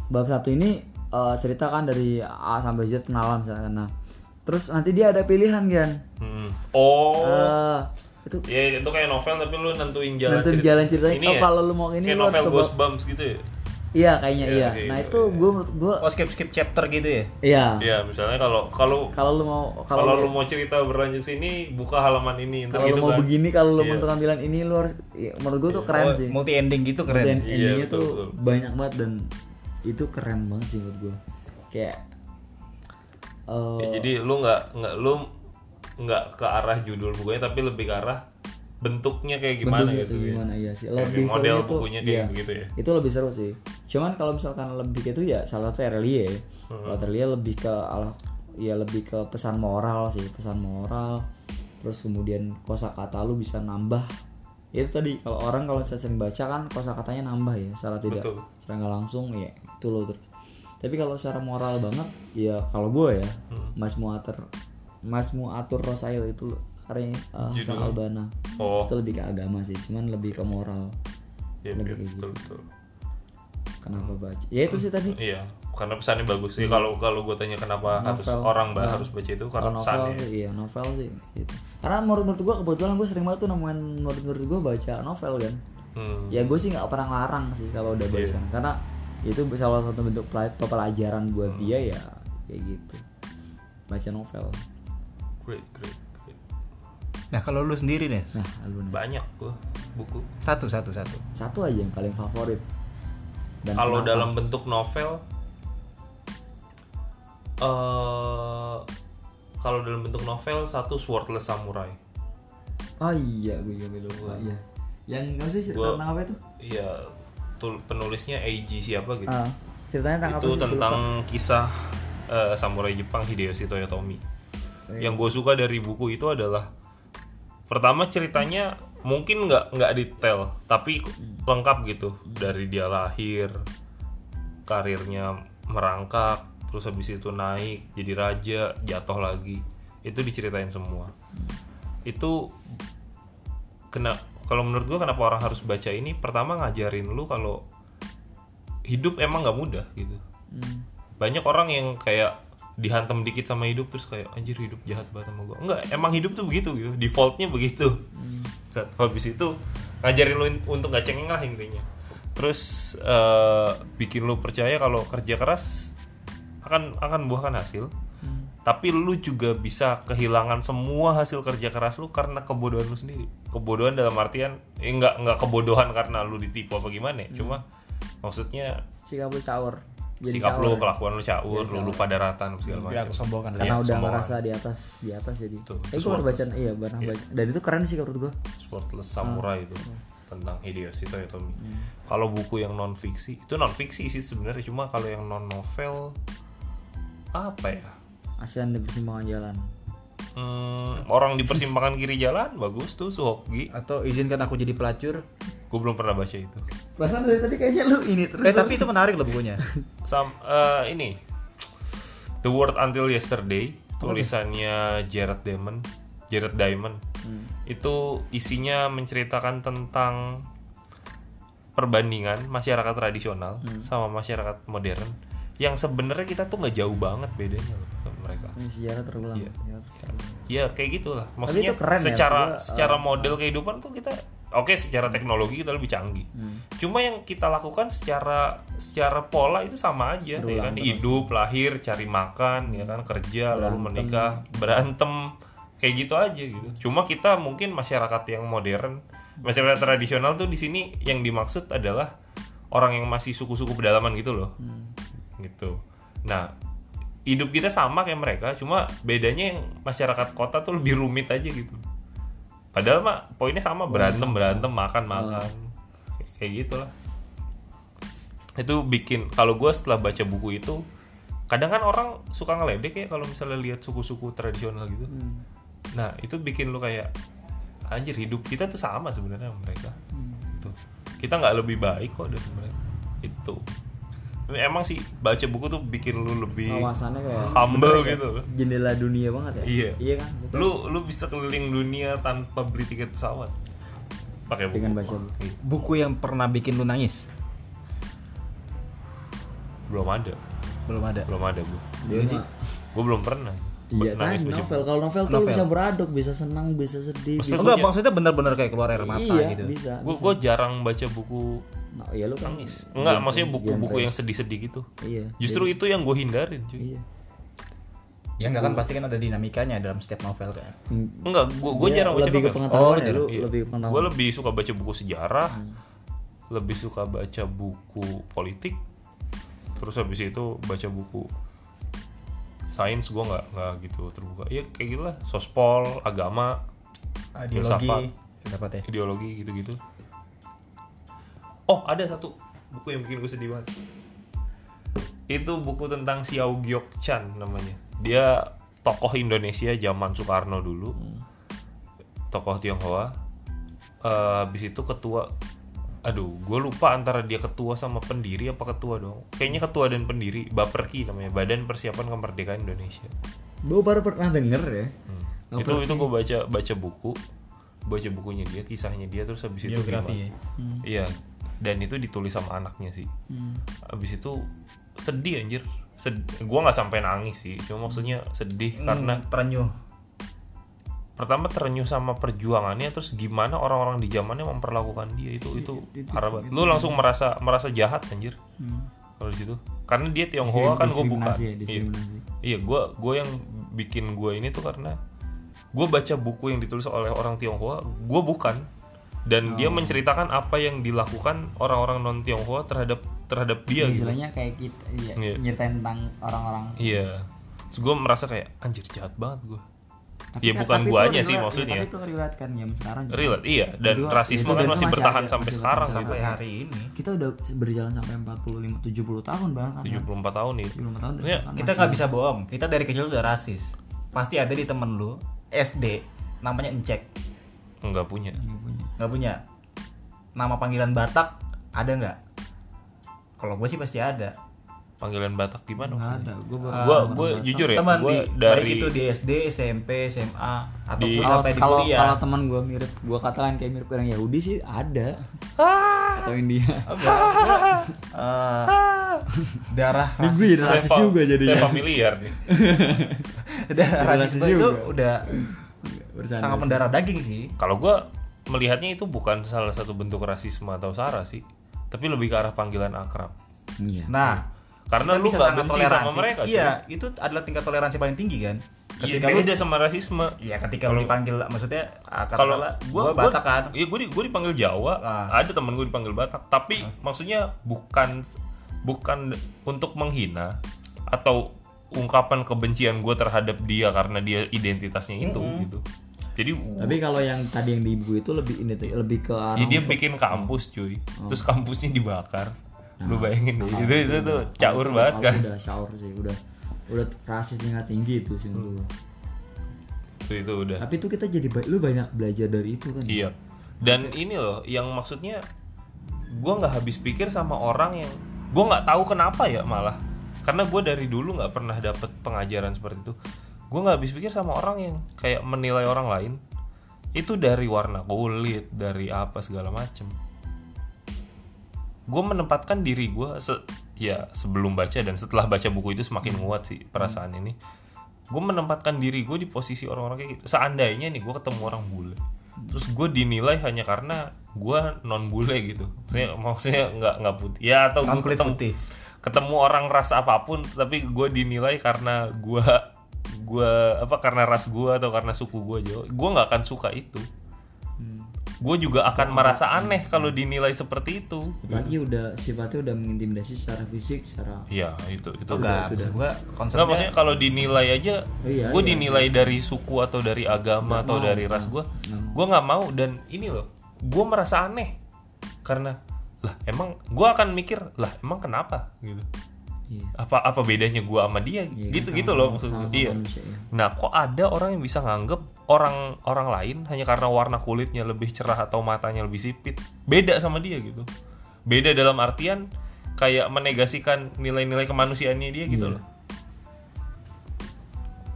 Speaker 2: bab satu ini eh, cerita kan dari A sampai Z kenalan misalkan nah terus nanti dia ada pilihan kan
Speaker 1: Mhm. Oh.
Speaker 2: Eh, itu
Speaker 1: Ya itu kayak novel tapi lu nentuin jalan
Speaker 2: nanti jalan ceritanya
Speaker 1: Ini
Speaker 2: oh,
Speaker 1: ya?
Speaker 2: kalau lu mau ini
Speaker 1: kayak
Speaker 2: lu harus
Speaker 1: novel
Speaker 2: ke bawah.
Speaker 1: Goosebumps gitu ya.
Speaker 2: iya kayaknya
Speaker 1: Iya,
Speaker 2: iya
Speaker 1: kayak
Speaker 2: nah
Speaker 1: gitu,
Speaker 2: itu gue menurut gue
Speaker 3: Oh skip skip chapter gitu ya?
Speaker 2: iya
Speaker 1: Iya, misalnya kalau kalau
Speaker 2: kalau lu mau kalau
Speaker 1: kalau lu mau cerita berlanjut sini buka halaman ini entar
Speaker 2: kalau lu
Speaker 1: gitu
Speaker 2: mau
Speaker 1: kan.
Speaker 2: begini kalau lu
Speaker 1: Iya.
Speaker 2: mau tampilan ini lu harus iya, menurut gue tuh keren
Speaker 3: Oh,
Speaker 2: sih
Speaker 3: multi ending gitu
Speaker 2: dan
Speaker 3: keren.
Speaker 1: Iya,
Speaker 2: endingnya
Speaker 1: betul,
Speaker 2: tuh
Speaker 1: betul.
Speaker 2: banyak banget dan itu keren banget sih menurut gue kayak eh,
Speaker 1: Ya, jadi lu nggak nggak lu nggak ke arah judul bukunya tapi lebih ke arah bentuknya kayak gimana
Speaker 2: bentuknya
Speaker 1: gitu
Speaker 2: kayak
Speaker 1: ya.
Speaker 2: gimana iya sih
Speaker 1: Kayak
Speaker 2: lebih
Speaker 1: model
Speaker 2: serunya tuh
Speaker 1: bukunya kayak
Speaker 2: iya,
Speaker 1: begitu ya.
Speaker 2: itu lebih seru sih cuman kalau misalkan lebih itu ya salah satu Erlie ya
Speaker 1: Hmm.
Speaker 2: kalau Erlie lebih ke ala ya lebih ke pesan moral sih pesan moral terus kemudian kosakata lu bisa nambah Ya itu tadi kalau orang kalau saya sering baca kan kosakatanya nambah ya salah tidak
Speaker 1: Betul.
Speaker 2: secara nggak langsung ya itu loh terus tapi kalau secara moral banget ya kalau gue ya
Speaker 1: Hmm.
Speaker 2: Mas Muater Mas Muatur Rosail itu loh, karya eh, Hasan Albana
Speaker 1: Oh,
Speaker 2: itu lebih ke agama sih cuman lebih ke moral
Speaker 1: iya, iya,
Speaker 2: lebih kayak gitu
Speaker 1: betul betul.
Speaker 2: kenapa baca ya itu sih tadi
Speaker 1: Iya, karena pesannya bagus. sih kalau kalau gue tanya kenapa harus
Speaker 2: Iya. Novel.
Speaker 1: orang bah,
Speaker 2: Nah.
Speaker 1: harus baca itu
Speaker 2: Kalau
Speaker 1: karena
Speaker 2: novel
Speaker 1: pesannya.
Speaker 2: sih iya novel sih gitu. karena menurut menurut gue kebetulan gue sering banget tuh nemuin menurut menurut gue baca novel kan
Speaker 1: Hmm. Iya.
Speaker 2: ya gue sih nggak pernah larang sih kalau udah baca karena itu salah satu bentuk pela- pelajaran buat
Speaker 1: Hmm.
Speaker 2: dia ya kayak gitu baca novel
Speaker 1: Great, great, great.
Speaker 3: Nah kalau lu sendiri nih
Speaker 2: nah lalu nih
Speaker 1: Banyak gue buku.
Speaker 3: satu satu satu.
Speaker 2: satu aja yang paling favorit Dan
Speaker 1: Kalau
Speaker 2: kenapa?
Speaker 1: dalam bentuk novel, eh kalau dalam bentuk novel satu Swordless Samurai.
Speaker 2: oh iya gue juga lupa iya yang nggak sih
Speaker 1: Hmm. Gua-
Speaker 2: tentang apa itu
Speaker 1: Iya, tul- penulisnya Eiji siapa gitu.
Speaker 2: Ah, ceritanya tentang apa
Speaker 1: itu
Speaker 2: sih? Gua
Speaker 1: tentang
Speaker 2: lupa.
Speaker 1: kisah eh, samurai Jepang Hideyoshi Toyotomi.
Speaker 2: Iya.
Speaker 1: Yang gue suka dari buku itu adalah pertama ceritanya mungkin nggak nggak detail tapi lengkap gitu dari dia lahir karirnya merangkak terus habis itu naik jadi raja jatuh lagi itu diceritain semua itu kena kalau menurut gue kenapa orang harus baca ini pertama ngajarin lu kalau hidup emang nggak mudah gitu
Speaker 2: Hmm,
Speaker 1: banyak orang yang kayak dihantam dikit sama hidup terus kayak anjir hidup jahat banget sama gue enggak emang hidup tuh begitu gitu defaultnya begitu saat habis itu ngajarin lu in- untuk gak cengeng lah intinya terus eh, bikin lu percaya kalau kerja keras akan akan buahkan hasil tapi lu juga bisa kehilangan semua hasil kerja keras lu karena kebodohan lu sendiri kebodohan dalam artian eh, nggak nggak kebodohan karena lu ditipu apa gimana ya cuma maksudnya
Speaker 2: sikap lu caur Jadi Iya,
Speaker 1: sikap
Speaker 2: caur.
Speaker 1: lu kelakuan lu caur lu lupa daratan segala macam
Speaker 3: Biar aku sombongkan.
Speaker 2: karena
Speaker 1: Iya,
Speaker 2: udah
Speaker 1: semua
Speaker 2: ngerasa di atas di atas jadi
Speaker 1: Tuh, itu
Speaker 2: eh gue pernah
Speaker 1: suara.
Speaker 2: baca iya pernah baca dan itu keren sih menurut gue
Speaker 1: Sportless
Speaker 2: Hmm.
Speaker 1: Samurai itu tentang Hideyoshi Toyotomi. Kalau buku yang non fiksi itu non fiksi sih sebenarnya cuma kalau yang non novel apa ya?
Speaker 2: ASEAN di persimpangan jalan
Speaker 1: Hmm, orang di persimpangan kiri jalan bagus tuh Suhoki.
Speaker 3: Atau izinkan aku jadi pelacur.
Speaker 1: Gue belum pernah baca itu.
Speaker 2: perasaan dari tadi kayaknya lu ini terus
Speaker 3: Eh tapi itu menarik loh bukunya.
Speaker 1: Sam eh, ini The World Until Yesterday tulisannya Jared Diamond. Jared Diamond
Speaker 2: Hmm.
Speaker 1: itu isinya menceritakan tentang perbandingan masyarakat tradisional
Speaker 2: Hmm.
Speaker 1: sama masyarakat modern yang sebenarnya kita tuh nggak jauh banget bedanya loh sama mereka.
Speaker 2: Ini sejarah terulang
Speaker 1: Iya.
Speaker 2: Sejarah terulang.
Speaker 1: Ya kayak gitulah. Maksudnya
Speaker 2: itu keren ya,
Speaker 1: secara
Speaker 2: maksud gua,
Speaker 1: secara model kehidupan tuh kita oke secara teknologi kita lebih canggih.
Speaker 2: Hmm.
Speaker 1: Cuma yang kita lakukan secara secara pola itu sama aja ya kan hidup, lahir, cari makan, ya kan kerja, lalu menikah, berantem kayak gitu aja gitu. Cuma kita mungkin masyarakat yang modern, masyarakat tradisional tuh di sini yang dimaksud adalah orang yang masih suku-suku pedalaman gitu loh. Gitu. Nah, hidup kita sama kayak mereka cuma bedanya yang masyarakat kota tuh lebih rumit aja gitu padahal mah poinnya sama
Speaker 2: Hmm.
Speaker 1: berantem berantem makan makan kayak gitulah itu bikin kalau gue setelah baca buku itu kadang kan orang suka ngeledek ya kalau misalnya lihat suku-suku tradisional gitu nah itu bikin lu kayak anjir hidup kita tuh sama sebenarnya sama mereka
Speaker 2: Hmm.
Speaker 1: tuh kita nggak lebih baik kok dari mereka itu emang sih baca buku tuh bikin lu lebih
Speaker 2: Hmm. Wawasannya kayak
Speaker 1: humble gitu loh.
Speaker 2: jendela dunia banget ya
Speaker 1: Iya.
Speaker 2: iya kan Betul.
Speaker 1: lu lu bisa keliling dunia tanpa beli tiket pesawat pakai buku Iya.
Speaker 2: dengan baca buku.
Speaker 3: Buku yang pernah bikin lu nangis
Speaker 1: belum ada
Speaker 3: belum ada.
Speaker 1: belum ada bu
Speaker 2: dia mah
Speaker 1: gue belum pernah
Speaker 4: Iya
Speaker 1: Nangis
Speaker 4: tadi
Speaker 1: berjejer.
Speaker 4: novel. Kalau novel tuh lu
Speaker 3: Novel.
Speaker 4: bisa beraduk, bisa senang, bisa sedih.
Speaker 1: Maksudnya
Speaker 4: bisa-
Speaker 3: enggak maksudnya bener-bener kayak keluar air mata
Speaker 4: iya,
Speaker 3: gitu
Speaker 4: bisa.
Speaker 1: Gue gue jarang baca buku
Speaker 4: Nah, iya lu kan.
Speaker 1: nangis. Enggak, maksudnya buku-buku yang sedih-sedih gitu.
Speaker 4: Iya.
Speaker 1: Justru itu yang gue hindarin cuy.
Speaker 4: Iya.
Speaker 3: ya enggak kan pasti kan ada dinamikanya dalam setiap novel kan
Speaker 1: Enggak, gue
Speaker 4: Iya,
Speaker 1: gue Oh, jarang baca
Speaker 4: lebih ke
Speaker 1: novel.
Speaker 4: pengetahuan
Speaker 3: Oh,
Speaker 4: ya, lu
Speaker 1: Iya.
Speaker 4: lebih ke pengetahuan. Hmm.
Speaker 1: Gue lebih suka baca buku sejarah, lebih suka baca buku politik, terus habis itu baca buku sains gue nggak nggak gitu terbuka. Ya kayak gitulah, sospol, agama,
Speaker 4: Ah,
Speaker 3: ideologi dapat ya
Speaker 1: ideologi gitu-gitu. Oh ada satu buku yang bikin gue sedih banget. Itu buku tentang Xiao Gyok Chan namanya. Dia tokoh Indonesia zaman Soekarno dulu. Tokoh Tionghoa. Eh, habis itu ketua. Aduh, gue lupa antara dia ketua sama pendiri apa ketua dong. Kayaknya ketua dan pendiri. Baperki namanya. Badan Persiapan Kemerdekaan Indonesia.
Speaker 4: Gue baru pernah denger ya.
Speaker 1: Hmm. Itu itu gue baca baca buku, baca bukunya dia, kisahnya dia terus habis itu
Speaker 3: Biografi
Speaker 1: gimana?
Speaker 3: ya?
Speaker 1: Iya. Dan itu ditulis sama anaknya sih. Habis itu sedih anjir. Sed gua nggak sampai nangis sih, cuma maksudnya sedih karena
Speaker 3: Hmm, terenyuh
Speaker 1: pertama terenyuh sama perjuangannya terus gimana orang-orang di zamannya memperlakukan dia itu itu parah banget. Lu langsung merasa merasa jahat anjir. Kalau di situ. Karena dia Tionghoa kan gue bukan.
Speaker 4: Diskriminasi ya,
Speaker 1: Iya.
Speaker 4: diskriminasi.
Speaker 1: Iya, gue gue yang bikin gue ini tuh karena gue baca buku yang ditulis oleh orang Tionghoa, gue bukan.
Speaker 4: Oh.
Speaker 1: Dan dia menceritakan apa yang dilakukan orang-orang non Tionghoa terhadap terhadap dia
Speaker 4: Iya,
Speaker 1: gitu.
Speaker 4: Istilahnya kayak kita iya,
Speaker 1: Iya.
Speaker 4: nyeritain tentang orang-orang
Speaker 1: Iya. Terus gue merasa kayak anjir jahat banget gue.
Speaker 4: Tapi
Speaker 1: Ya
Speaker 4: kan-
Speaker 1: bukan
Speaker 4: tapi itu
Speaker 1: guanya sih
Speaker 4: relate-
Speaker 1: maksudnya.
Speaker 4: Tapi itu relate kan zaman sekarang. juga.
Speaker 1: Relate, iya. Dan
Speaker 4: Itu-
Speaker 1: rasisme
Speaker 4: itu
Speaker 1: kan
Speaker 4: dan
Speaker 1: masih
Speaker 4: masih
Speaker 1: bertahan
Speaker 4: ada,
Speaker 1: sampai
Speaker 4: masih
Speaker 1: sekarang gitu.
Speaker 4: Iya.
Speaker 3: sampai hari ini
Speaker 4: Kita udah berjalan sampai 40 lima- 70 tahun bahkan. kan.
Speaker 1: 74 tahun ya. nih.
Speaker 4: 75 tahun.
Speaker 1: Maksudnya
Speaker 4: kan
Speaker 3: kita nggak bisa bohong kita dari kecil udah rasis pasti ada di temen lu SD namanya encek
Speaker 1: nggak punya.
Speaker 4: masih punya.
Speaker 3: nggak punya nama panggilan Batak ada nggak kalau gue sih pasti ada
Speaker 1: Panggilan Batak gimana?
Speaker 4: Nggak
Speaker 1: maksudnya?
Speaker 4: ada. Gue baru
Speaker 1: Gua gue jujur ya,
Speaker 3: teman
Speaker 1: gue
Speaker 3: di,
Speaker 1: dari
Speaker 3: baik itu di SD SMP SMA
Speaker 1: Di-
Speaker 3: ataupun
Speaker 4: kalau
Speaker 3: sampai di
Speaker 4: kalau
Speaker 3: kuliah
Speaker 4: kalau teman gue mirip gue katain kayak mirip orang Yahudi sih ada
Speaker 1: Ah.
Speaker 4: atau India
Speaker 3: Eh, darah
Speaker 4: Ini gue
Speaker 3: rasis
Speaker 4: jadi rasis
Speaker 1: fa-
Speaker 4: juga jadinya.
Speaker 1: Saya familiar nih.
Speaker 3: darah
Speaker 4: Darah
Speaker 3: rasis
Speaker 4: rasis
Speaker 3: itu
Speaker 4: juga.
Speaker 3: udah
Speaker 4: Bercanda
Speaker 3: sangat
Speaker 4: sih.
Speaker 3: mendarah daging sih
Speaker 1: Kalau gue melihatnya itu bukan salah satu bentuk rasisme atau sara sih, tapi lebih ke arah panggilan akrab.
Speaker 4: Iya.
Speaker 3: nah
Speaker 1: Karena
Speaker 3: kita
Speaker 1: lu
Speaker 3: bisa
Speaker 1: nggak
Speaker 3: sangat
Speaker 1: benci
Speaker 3: toleransi.
Speaker 1: sama mereka. cuy.
Speaker 3: iya itu adalah tingkat toleransi paling tinggi kan
Speaker 1: Iya,
Speaker 3: ketika lu
Speaker 1: beda sama rasisme.
Speaker 3: ya ketika lu dipanggil maksudnya
Speaker 1: Kalau
Speaker 3: kalau
Speaker 1: gue
Speaker 3: gua Batak kan
Speaker 1: Iya, gue dipanggil Jawa.
Speaker 3: Ah.
Speaker 1: Ada temen gue dipanggil Batak, tapi maksudnya bukan bukan untuk menghina atau ungkapan kebencian gue terhadap dia karena dia identitasnya itu gitu. Jadi
Speaker 4: Tapi kalau yang tadi yang di ibu itu lebih ini tuh lebih ke anu. arah
Speaker 1: Ya, dia bikin kampus cuy, terus kampusnya dibakar. Lu bayangin deh, itu itu tuh caur
Speaker 4: Itu
Speaker 1: banget
Speaker 4: kalau
Speaker 1: kan.
Speaker 4: Udah syaur sih, udah udah rasis tingkat tinggi itu sih menurut gua.
Speaker 1: Hmm. Itu itu udah.
Speaker 4: Tapi itu kita jadi ba- lu banyak belajar dari itu kan.
Speaker 1: Iya. Dan ini loh yang maksudnya gua nggak habis pikir sama orang yang gua nggak tahu kenapa ya malah. Karena gue dari dulu nggak pernah dapet pengajaran seperti itu. Gue nggak habis pikir sama orang yang kayak menilai orang lain itu dari warna kulit, dari apa segala macem. gue menempatkan diri gue se- ya sebelum baca dan setelah baca buku itu semakin nguat sih perasaan ini gue menempatkan diri gue di posisi orang-orang kayak gitu seandainya nih gue ketemu orang bule terus gue dinilai hanya karena gue non bule gitu maksudnya maksudnya nggak nggak putih ya atau gue
Speaker 3: Non kulit
Speaker 1: ketemu
Speaker 3: putih.
Speaker 1: ketemu orang ras apapun tapi gue dinilai karena gue gue apa karena ras gue atau karena suku gue jawa gue nggak akan suka itu
Speaker 4: Hmm.
Speaker 1: gue juga akan merasa aneh kalau dinilai seperti itu
Speaker 4: Lagi udah sifatnya udah mengintimidasi secara fisik, secara
Speaker 1: Iya itu itu.
Speaker 3: enggak
Speaker 4: itu
Speaker 3: maksud gua
Speaker 1: Nggak,
Speaker 3: konsepnya
Speaker 1: maksudnya kalau dinilai aja,
Speaker 4: Iya,
Speaker 1: gue
Speaker 4: iya.
Speaker 1: dinilai dari suku atau dari agama atau dari ras gue, gue nggak mau dan ini loh, gue merasa aneh karena lah emang gue akan mikir lah emang kenapa gitu
Speaker 4: Iya.
Speaker 1: apa apa bedanya gue sama dia
Speaker 2: Iya,
Speaker 1: gitu gitu loh maksud gue
Speaker 4: sama-sama
Speaker 1: iya
Speaker 4: manusia, ya.
Speaker 1: nah kok ada orang yang bisa nganggep orang orang lain hanya karena warna kulitnya lebih cerah atau matanya lebih sipit beda sama dia gitu beda dalam artian kayak menegasikan nilai-nilai kemanusiaannya dia
Speaker 2: Iya.
Speaker 1: gitu loh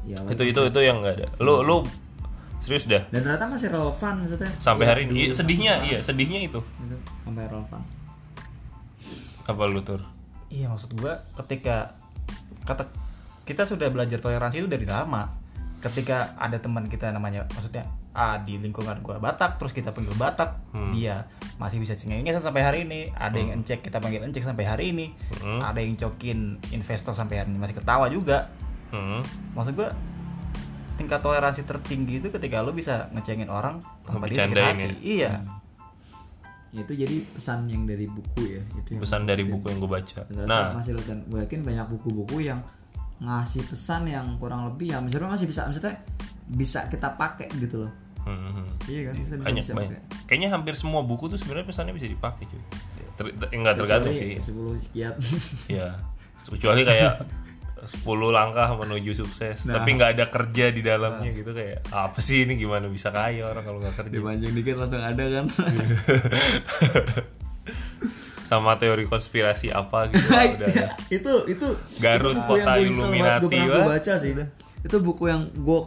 Speaker 4: ya
Speaker 1: itu iya. itu itu yang nggak ada lu lu serius dah
Speaker 4: dan ternyata masih relevan maksudnya
Speaker 1: sampai
Speaker 4: Iya,
Speaker 1: hari ini
Speaker 4: dulu
Speaker 1: Iya, sedihnya iya sedihnya itu
Speaker 4: gitu, sampai relevan
Speaker 1: apa lu tur
Speaker 3: iya maksud gua ketika kata kita sudah belajar toleransi itu dari lama ketika ada teman kita namanya maksudnya ah, di lingkungan gua Batak terus kita panggil Batak dia masih bisa cengengesan sampai hari ini ada yang encek kita panggil encek sampai hari ini ada yang cokin investor sampai hari ini masih ketawa juga
Speaker 1: Hmm.
Speaker 3: maksud gua tingkat toleransi tertinggi itu ketika lo bisa ngecengin orang tanpa dia sakit
Speaker 1: Ngebecandain
Speaker 3: hati
Speaker 1: ya?
Speaker 3: iya
Speaker 4: Ya,
Speaker 2: itu jadi pesan yang dari buku ya itu yang
Speaker 1: pesan dari buku yang gue baca
Speaker 2: Ternyata
Speaker 1: nah
Speaker 2: masih dan gue yakin banyak buku-buku yang ngasih pesan yang kurang lebih ya misalnya masih bisa maksudnya bisa kita pakai gitu loh
Speaker 1: hmm, hmm.
Speaker 2: iya kan kita bisa,
Speaker 1: banyak
Speaker 2: bisa
Speaker 1: banyak
Speaker 2: pakai.
Speaker 1: kayaknya hampir semua buku tuh sebenarnya pesannya bisa dipakai cuy Ter, ter- enggak tergantung
Speaker 2: Iya. Kecuali
Speaker 1: sih
Speaker 2: 10 [laughs] kiat
Speaker 1: ya kecuali kayak 10 langkah menuju sukses
Speaker 3: Nah.
Speaker 1: tapi nggak ada kerja di dalamnya gitu kayak apa sih ini gimana bisa kaya orang kalau nggak kerja
Speaker 2: dimanjang dikit langsung ada kan [laughs]
Speaker 1: sama teori konspirasi apa
Speaker 3: [laughs]
Speaker 1: gitu
Speaker 2: [laughs]
Speaker 1: lah, udah ada.
Speaker 2: Iya.
Speaker 3: Iya.
Speaker 2: itu itu
Speaker 1: Garut,
Speaker 2: itu buku
Speaker 1: kota
Speaker 2: yang gua nyesel banget,
Speaker 1: Illuminati,
Speaker 2: gua pernah gua
Speaker 1: wah.
Speaker 2: baca sih dah. itu buku yang gue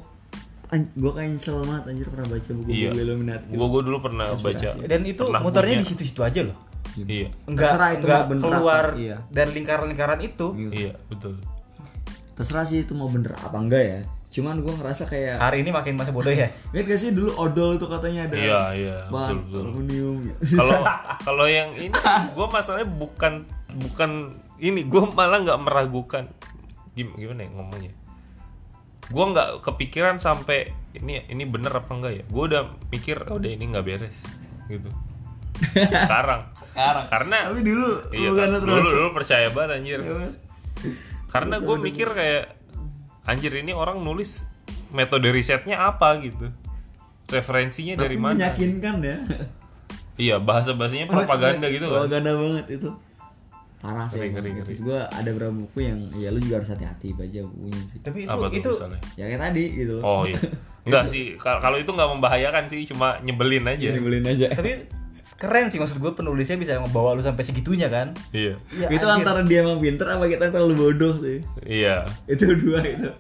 Speaker 2: gue kayak nyesel banget anjir pernah baca buku
Speaker 1: iya
Speaker 2: buku Illuminati
Speaker 1: gua gua dulu pernah baca
Speaker 3: gitu. dan itu
Speaker 1: Pernah
Speaker 3: muternya
Speaker 1: punya.
Speaker 3: di situ-situ aja loh
Speaker 1: iya
Speaker 3: enggak
Speaker 2: Terserah itu
Speaker 3: enggak
Speaker 2: mau bener
Speaker 3: keluar
Speaker 2: apa, iya. Hmm.
Speaker 3: dari lingkaran-lingkaran itu
Speaker 1: iya betul
Speaker 2: terserah sih itu mau bener apa enggak ya cuman gue ngerasa kayak
Speaker 1: Ah.
Speaker 3: hari ini makin masa bodoh ya
Speaker 2: Ingat gak sih dulu odol tuh katanya ada
Speaker 1: Iya, iya,
Speaker 2: bahan
Speaker 1: betul, betul.
Speaker 2: aluminium gitu. [laughs]
Speaker 1: kalau kalau yang ini sih gue masalahnya bukan bukan ini gue malah nggak meragukan Gim- gimana ya ngomongnya gue nggak kepikiran sampai ini ini bener apa enggak ya gue udah mikir "Oh, udah ini nggak beres gitu sekarang karena
Speaker 2: Tapi dulu
Speaker 1: iya,
Speaker 2: bukan
Speaker 1: dulu,
Speaker 2: terus. Iya.
Speaker 1: dulu, percaya banget anjir karena gue mikir kayak anjir ini orang nulis metode risetnya apa gitu referensinya dari mana
Speaker 2: Meyakinkan ya.
Speaker 1: Iya bahasa bahasanya propaganda gitu kan.
Speaker 2: Propaganda banget itu. Parah sih.
Speaker 1: Ngeri,
Speaker 2: emang.
Speaker 1: ngeri, ngeri.
Speaker 2: Terus gue ada beberapa buku yang ya lu juga harus hati-hati baca bukunya sih.
Speaker 3: tapi itu
Speaker 1: Apa tuh
Speaker 3: itu
Speaker 1: misalnya?
Speaker 2: Ya kayak tadi gitu loh.
Speaker 1: Oh iya. Enggak sih ka- kalau itu nggak membahayakan sih cuma nyebelin aja.
Speaker 2: Dibeliin aja.
Speaker 3: tapi keren sih maksud gue penulisnya bisa ngebawa lu sampai segitunya kan
Speaker 1: Iya.
Speaker 3: Iya,
Speaker 2: itu
Speaker 3: anjir.
Speaker 2: antara dia emang pinter apa kita terlalu bodoh sih.
Speaker 1: Iya.
Speaker 2: Itu dua itu.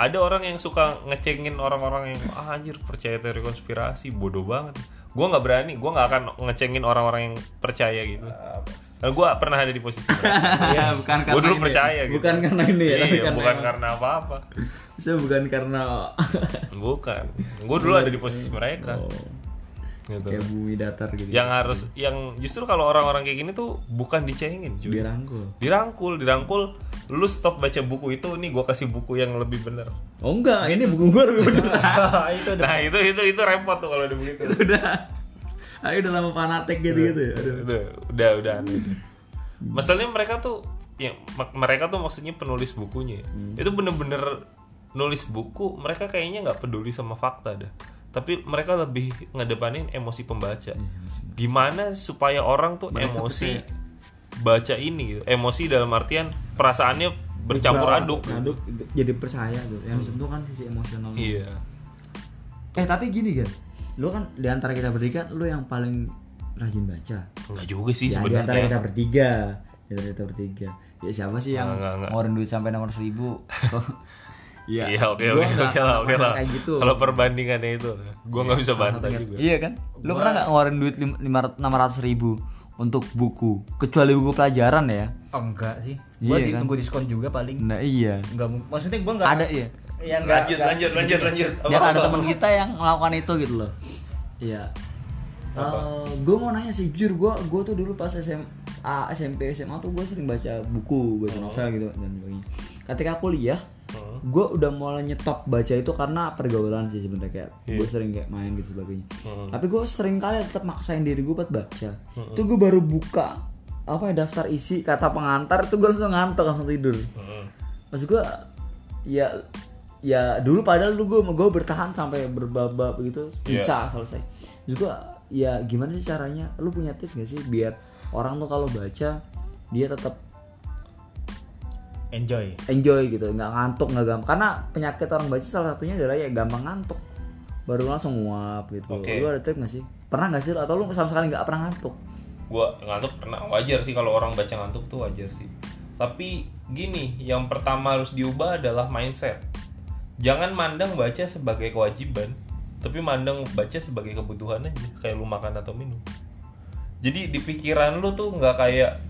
Speaker 1: Ada orang yang suka ngecengin orang-orang yang ah, anjir percaya teori konspirasi bodoh banget. Gua nggak berani, gua nggak akan ngecengin orang-orang yang percaya gitu. Karena gua pernah ada di posisi mereka.
Speaker 2: [laughs] Iya, bukan
Speaker 1: Gua dulu percaya gitu.
Speaker 2: Bukan karena ini ya, tapi
Speaker 1: Iya,
Speaker 2: karena
Speaker 1: bukan
Speaker 2: emang-
Speaker 1: karena apa-apa.
Speaker 2: Saya bukan karena oh.
Speaker 1: Bukan. Gua dulu ada di posisi mereka. Gitu.
Speaker 2: kayak bumi datar Oh, gitu.
Speaker 1: Yang harus yang justru kalau orang-orang kayak gini tuh bukan dicengin, cuy.
Speaker 2: Dirangkul.
Speaker 1: dirangkul dirangkul lu stop baca buku itu nih gua kasih buku yang lebih bener
Speaker 2: Oh enggak, ini buku gue lebih bener.
Speaker 3: itu
Speaker 1: nah [laughs] itu itu itu repot tuh kalau udah begitu
Speaker 2: [laughs] udah ayo udah lama fanatik gitu gitu ya aduh
Speaker 1: udah udah udah aneh. masalahnya mereka tuh ya mak- mereka tuh maksudnya penulis bukunya ya. itu bener-bener nulis buku mereka kayaknya nggak peduli sama fakta dah tapi mereka lebih ngedepanin Iya, emosi pembaca gimana supaya orang tuh emosi baca ini gitu emosi dalam artian perasaannya bercampur aduk
Speaker 2: aduk itu jadi percaya gitu yang disentuh kan sisi emosional
Speaker 1: iya
Speaker 2: eh tapi gini kan lu kan di antara kita bertiga lu yang paling rajin baca
Speaker 1: Enggak juga sih
Speaker 2: ya di antara
Speaker 1: Iya, sebenarnya.
Speaker 2: kita bertiga di antara kita bertiga ya siapa sih yang
Speaker 1: Enggak, enggak.
Speaker 2: ngeluarin duit sampai nomor seribu
Speaker 1: [laughs] Iya, oke oke
Speaker 2: Gua nggak-
Speaker 1: oke lah, oke
Speaker 2: nggak
Speaker 1: lah.
Speaker 2: kayak gitu
Speaker 1: Kalau perbandingannya itu, gua nggak bisa bantah juga.
Speaker 2: iya kan lu pernah nggak ngeluarin duit enam ratus ribu untuk buku kecuali buku pelajaran ya
Speaker 3: enggak sih gue
Speaker 2: Iya, kan?
Speaker 3: tunggu diskon juga paling
Speaker 2: nah iya
Speaker 3: enggak mung- maksudnya gue enggak
Speaker 2: ada iya
Speaker 3: ya enggak,
Speaker 1: Lanjut,
Speaker 3: enggak.
Speaker 1: lanjut, lanjut, lanjut.
Speaker 3: Iya.
Speaker 2: dan
Speaker 1: Apa-apa?
Speaker 2: ada teman kita yang melakukan itu gitu loh iya gue mau nanya sih jujur gue gue tuh dulu pas SMA SMP SMA tuh gue sering baca buku baca novel gitu dan sebagainya ketika kuliah gue udah mulai nyetop baca itu karena pergaulan sih sebenarnya kayak gue sering kayak main gitu sebagainya tapi gue sering kali tetap maksain diri gue buat baca itu gue baru buka apa ya daftar isi kata pengantar itu gue langsung ngantuk langsung tidur
Speaker 1: Heeh.
Speaker 2: maksud gue ya ya dulu padahal dulu gue gue bertahan sampai berbab-bab gitu
Speaker 1: Iya.
Speaker 2: bisa selesai maksud gue ya gimana sih caranya lu punya tips gak sih biar orang tuh kalau baca dia tetap
Speaker 3: enjoy
Speaker 2: enjoy gitu nggak ngantuk nggak gampang karena penyakit orang baca salah satunya adalah ya gampang ngantuk baru langsung nguap gitu
Speaker 1: Oke.
Speaker 2: lu ada tips gak sih pernah gak sih lu? atau lu sama sekali nggak pernah ngantuk
Speaker 1: Gua ngantuk pernah wajar sih kalau orang baca ngantuk tuh wajar sih. Tapi gini, yang pertama harus diubah adalah mindset. Jangan mandang baca sebagai kewajiban, tapi mandang baca sebagai kebutuhan aja, kayak lu makan atau minum. Jadi di pikiran lu tuh nggak kayak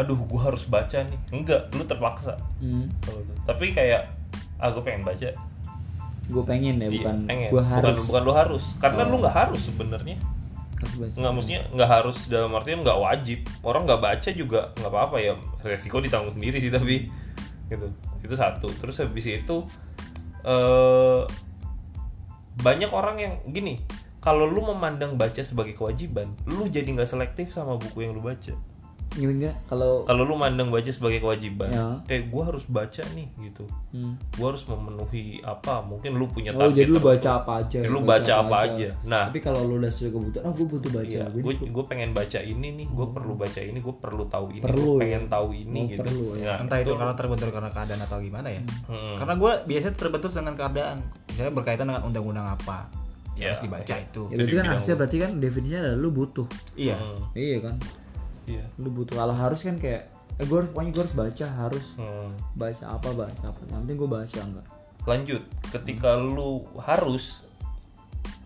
Speaker 1: aduh gua harus baca nih. Enggak, lu terpaksa.
Speaker 2: hmm.
Speaker 1: Kalau itu. tapi kayak ah gue pengen baca
Speaker 2: gue pengen ya
Speaker 1: Iya,
Speaker 2: bukan
Speaker 1: pengen.
Speaker 2: gue
Speaker 1: Bukan-
Speaker 2: harus Oh.
Speaker 1: bukan, lu harus karena lu nggak harus sebenarnya
Speaker 2: harus baca.
Speaker 1: nggak maksudnya nggak harus dalam artian nggak wajib orang nggak baca juga nggak apa-apa ya resiko ditanggung sendiri sih tapi gitu itu satu terus habis itu eh banyak orang yang gini kalau lu memandang baca sebagai kewajiban lu jadi nggak selektif sama buku yang lu baca
Speaker 2: gimana kalau
Speaker 1: kalau lu mandang baca sebagai kewajiban
Speaker 2: Ya.
Speaker 1: kayak gua harus baca nih gitu
Speaker 2: hmm.
Speaker 1: gua harus memenuhi apa mungkin lu punya
Speaker 2: oh jadi lu
Speaker 1: tertentu.
Speaker 2: baca apa aja
Speaker 1: Ya, gitu. lu baca apa aja. Nah.
Speaker 2: tapi kalau lu udah sesuai kebutuhan oh gue butuh baca
Speaker 1: Iya,
Speaker 2: Gua Hmm.
Speaker 1: gue gue pengen baca ini nih, gue perlu baca ini, gue perlu tahu ini,
Speaker 2: Perlu,
Speaker 1: gue pengen
Speaker 2: ya.
Speaker 1: tahu ini
Speaker 2: Oh,
Speaker 1: gitu.
Speaker 2: perlu, ya.
Speaker 1: Nah,
Speaker 3: entah itu karena terbentur karena keadaan atau gimana ya
Speaker 1: Hmm.
Speaker 3: karena gue biasanya terbentur dengan keadaan misalnya berkaitan dengan undang-undang apa
Speaker 1: Ya,
Speaker 3: yang harus dibaca itu
Speaker 2: Ya, berarti kan harusnya berarti kan definisinya adalah lu butuh.
Speaker 3: iya
Speaker 1: Hmm,
Speaker 2: Iya kan?
Speaker 1: iya.
Speaker 2: Lu butuh. Kalau harus kan kayak eh, gue harus pokoknya gue harus baca harus
Speaker 1: Hmm.
Speaker 2: baca apa baca apa. Yang penting gue baca enggak.
Speaker 1: Lanjut, ketika
Speaker 2: Hmm.
Speaker 1: lu harus,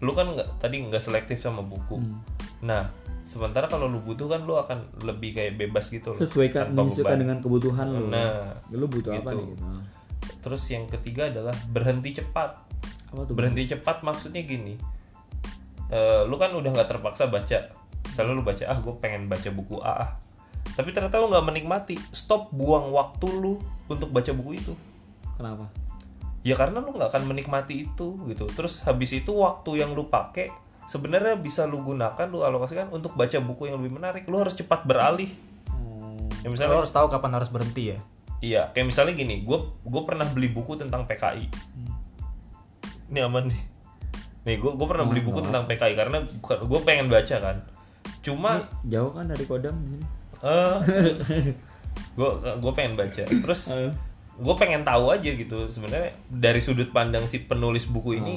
Speaker 1: lu kan nggak tadi nggak selektif sama buku.
Speaker 2: Hmm.
Speaker 1: Nah, sementara kalau lu butuh kan lu akan lebih kayak bebas gitu loh.
Speaker 2: Sesuaikan
Speaker 1: tanpa
Speaker 2: menyesuaikan
Speaker 1: beban.
Speaker 2: dengan kebutuhan lu.
Speaker 1: Nah,
Speaker 2: Lu butuh
Speaker 1: gitu.
Speaker 2: apa nih gitu. Nah,
Speaker 1: Terus yang ketiga adalah berhenti cepat.
Speaker 2: Apa tuh?
Speaker 1: Berhenti cepat maksudnya gini. Eh, lu kan udah nggak terpaksa baca. Misalnya lu baca ah gue pengen baca buku A ah. Tapi ternyata lu nggak menikmati. Stop buang waktu lu untuk baca buku itu.
Speaker 2: Kenapa?
Speaker 1: Ya karena lu nggak akan menikmati itu gitu. Terus habis itu waktu yang lu pakai sebenarnya bisa lu gunakan lu alokasikan untuk baca buku yang lebih menarik. Lu harus cepat beralih.
Speaker 2: Hmm.
Speaker 1: Ya,
Speaker 3: misalnya
Speaker 1: misalnya
Speaker 3: harus tahu kapan harus berhenti ya
Speaker 1: Iya, kayak misalnya gini, gue gue pernah beli buku tentang PKI. Ini aman nih. Nih gue gue pernah beli buku tentang PKI karena gue pengen baca kan. Cuma
Speaker 2: Jauh kan dari kodam di sini. [laughs]
Speaker 1: eh gue gue pengen baca. Terus
Speaker 2: Eh.
Speaker 1: gue pengen tahu aja gitu sebenarnya dari sudut pandang si penulis buku
Speaker 2: Oh.
Speaker 1: ini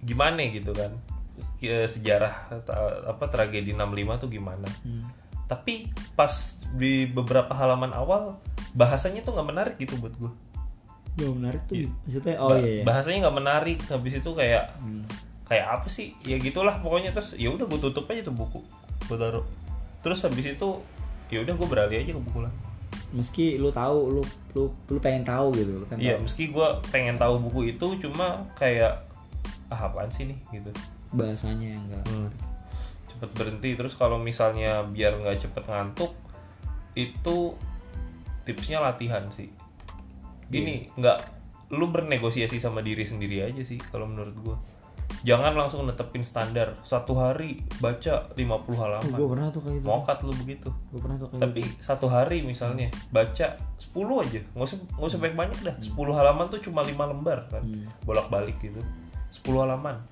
Speaker 1: gimana gitu kan Ke- sejarah ta- apa tragedi 65 tuh gimana.
Speaker 2: Hmm.
Speaker 1: Tapi pas di beberapa halaman awal bahasanya tuh nggak menarik gitu buat gue.
Speaker 2: Gak menarik tuh. Maksudnya oh
Speaker 1: Ba-
Speaker 2: iya. Hmm. iya.
Speaker 1: bahasanya nggak menarik habis itu kayak kayak apa sih ya gitulah pokoknya terus ya udah gue tutup aja tuh buku gue taruh terus habis itu ya udah gue beralih aja ke buku lain
Speaker 2: Meski lu tahu lu lu lu pengen tahu gitu, lu pengen
Speaker 1: iya
Speaker 2: tahu.
Speaker 1: meski gue pengen tahu buku itu cuma kayak ah apaan sih nih gitu
Speaker 2: bahasanya yang enggak.
Speaker 1: cepet berhenti terus kalau misalnya biar nggak cepet ngantuk itu tipsnya latihan sih gini nggak lu bernegosiasi sama diri sendiri aja sih kalau menurut gua jangan langsung netepin standar satu hari baca 50 halaman
Speaker 2: Gue pernah tuh kayak gitu.
Speaker 1: mokat lu begitu
Speaker 2: Gue pernah tuh kayak
Speaker 1: Oh.
Speaker 2: gitu.
Speaker 1: tapi satu hari misalnya baca 10 aja nggak usah nggak usah banyak banyak dah 10 halaman tuh cuma 5 lembar kan bolak balik gitu 10 halaman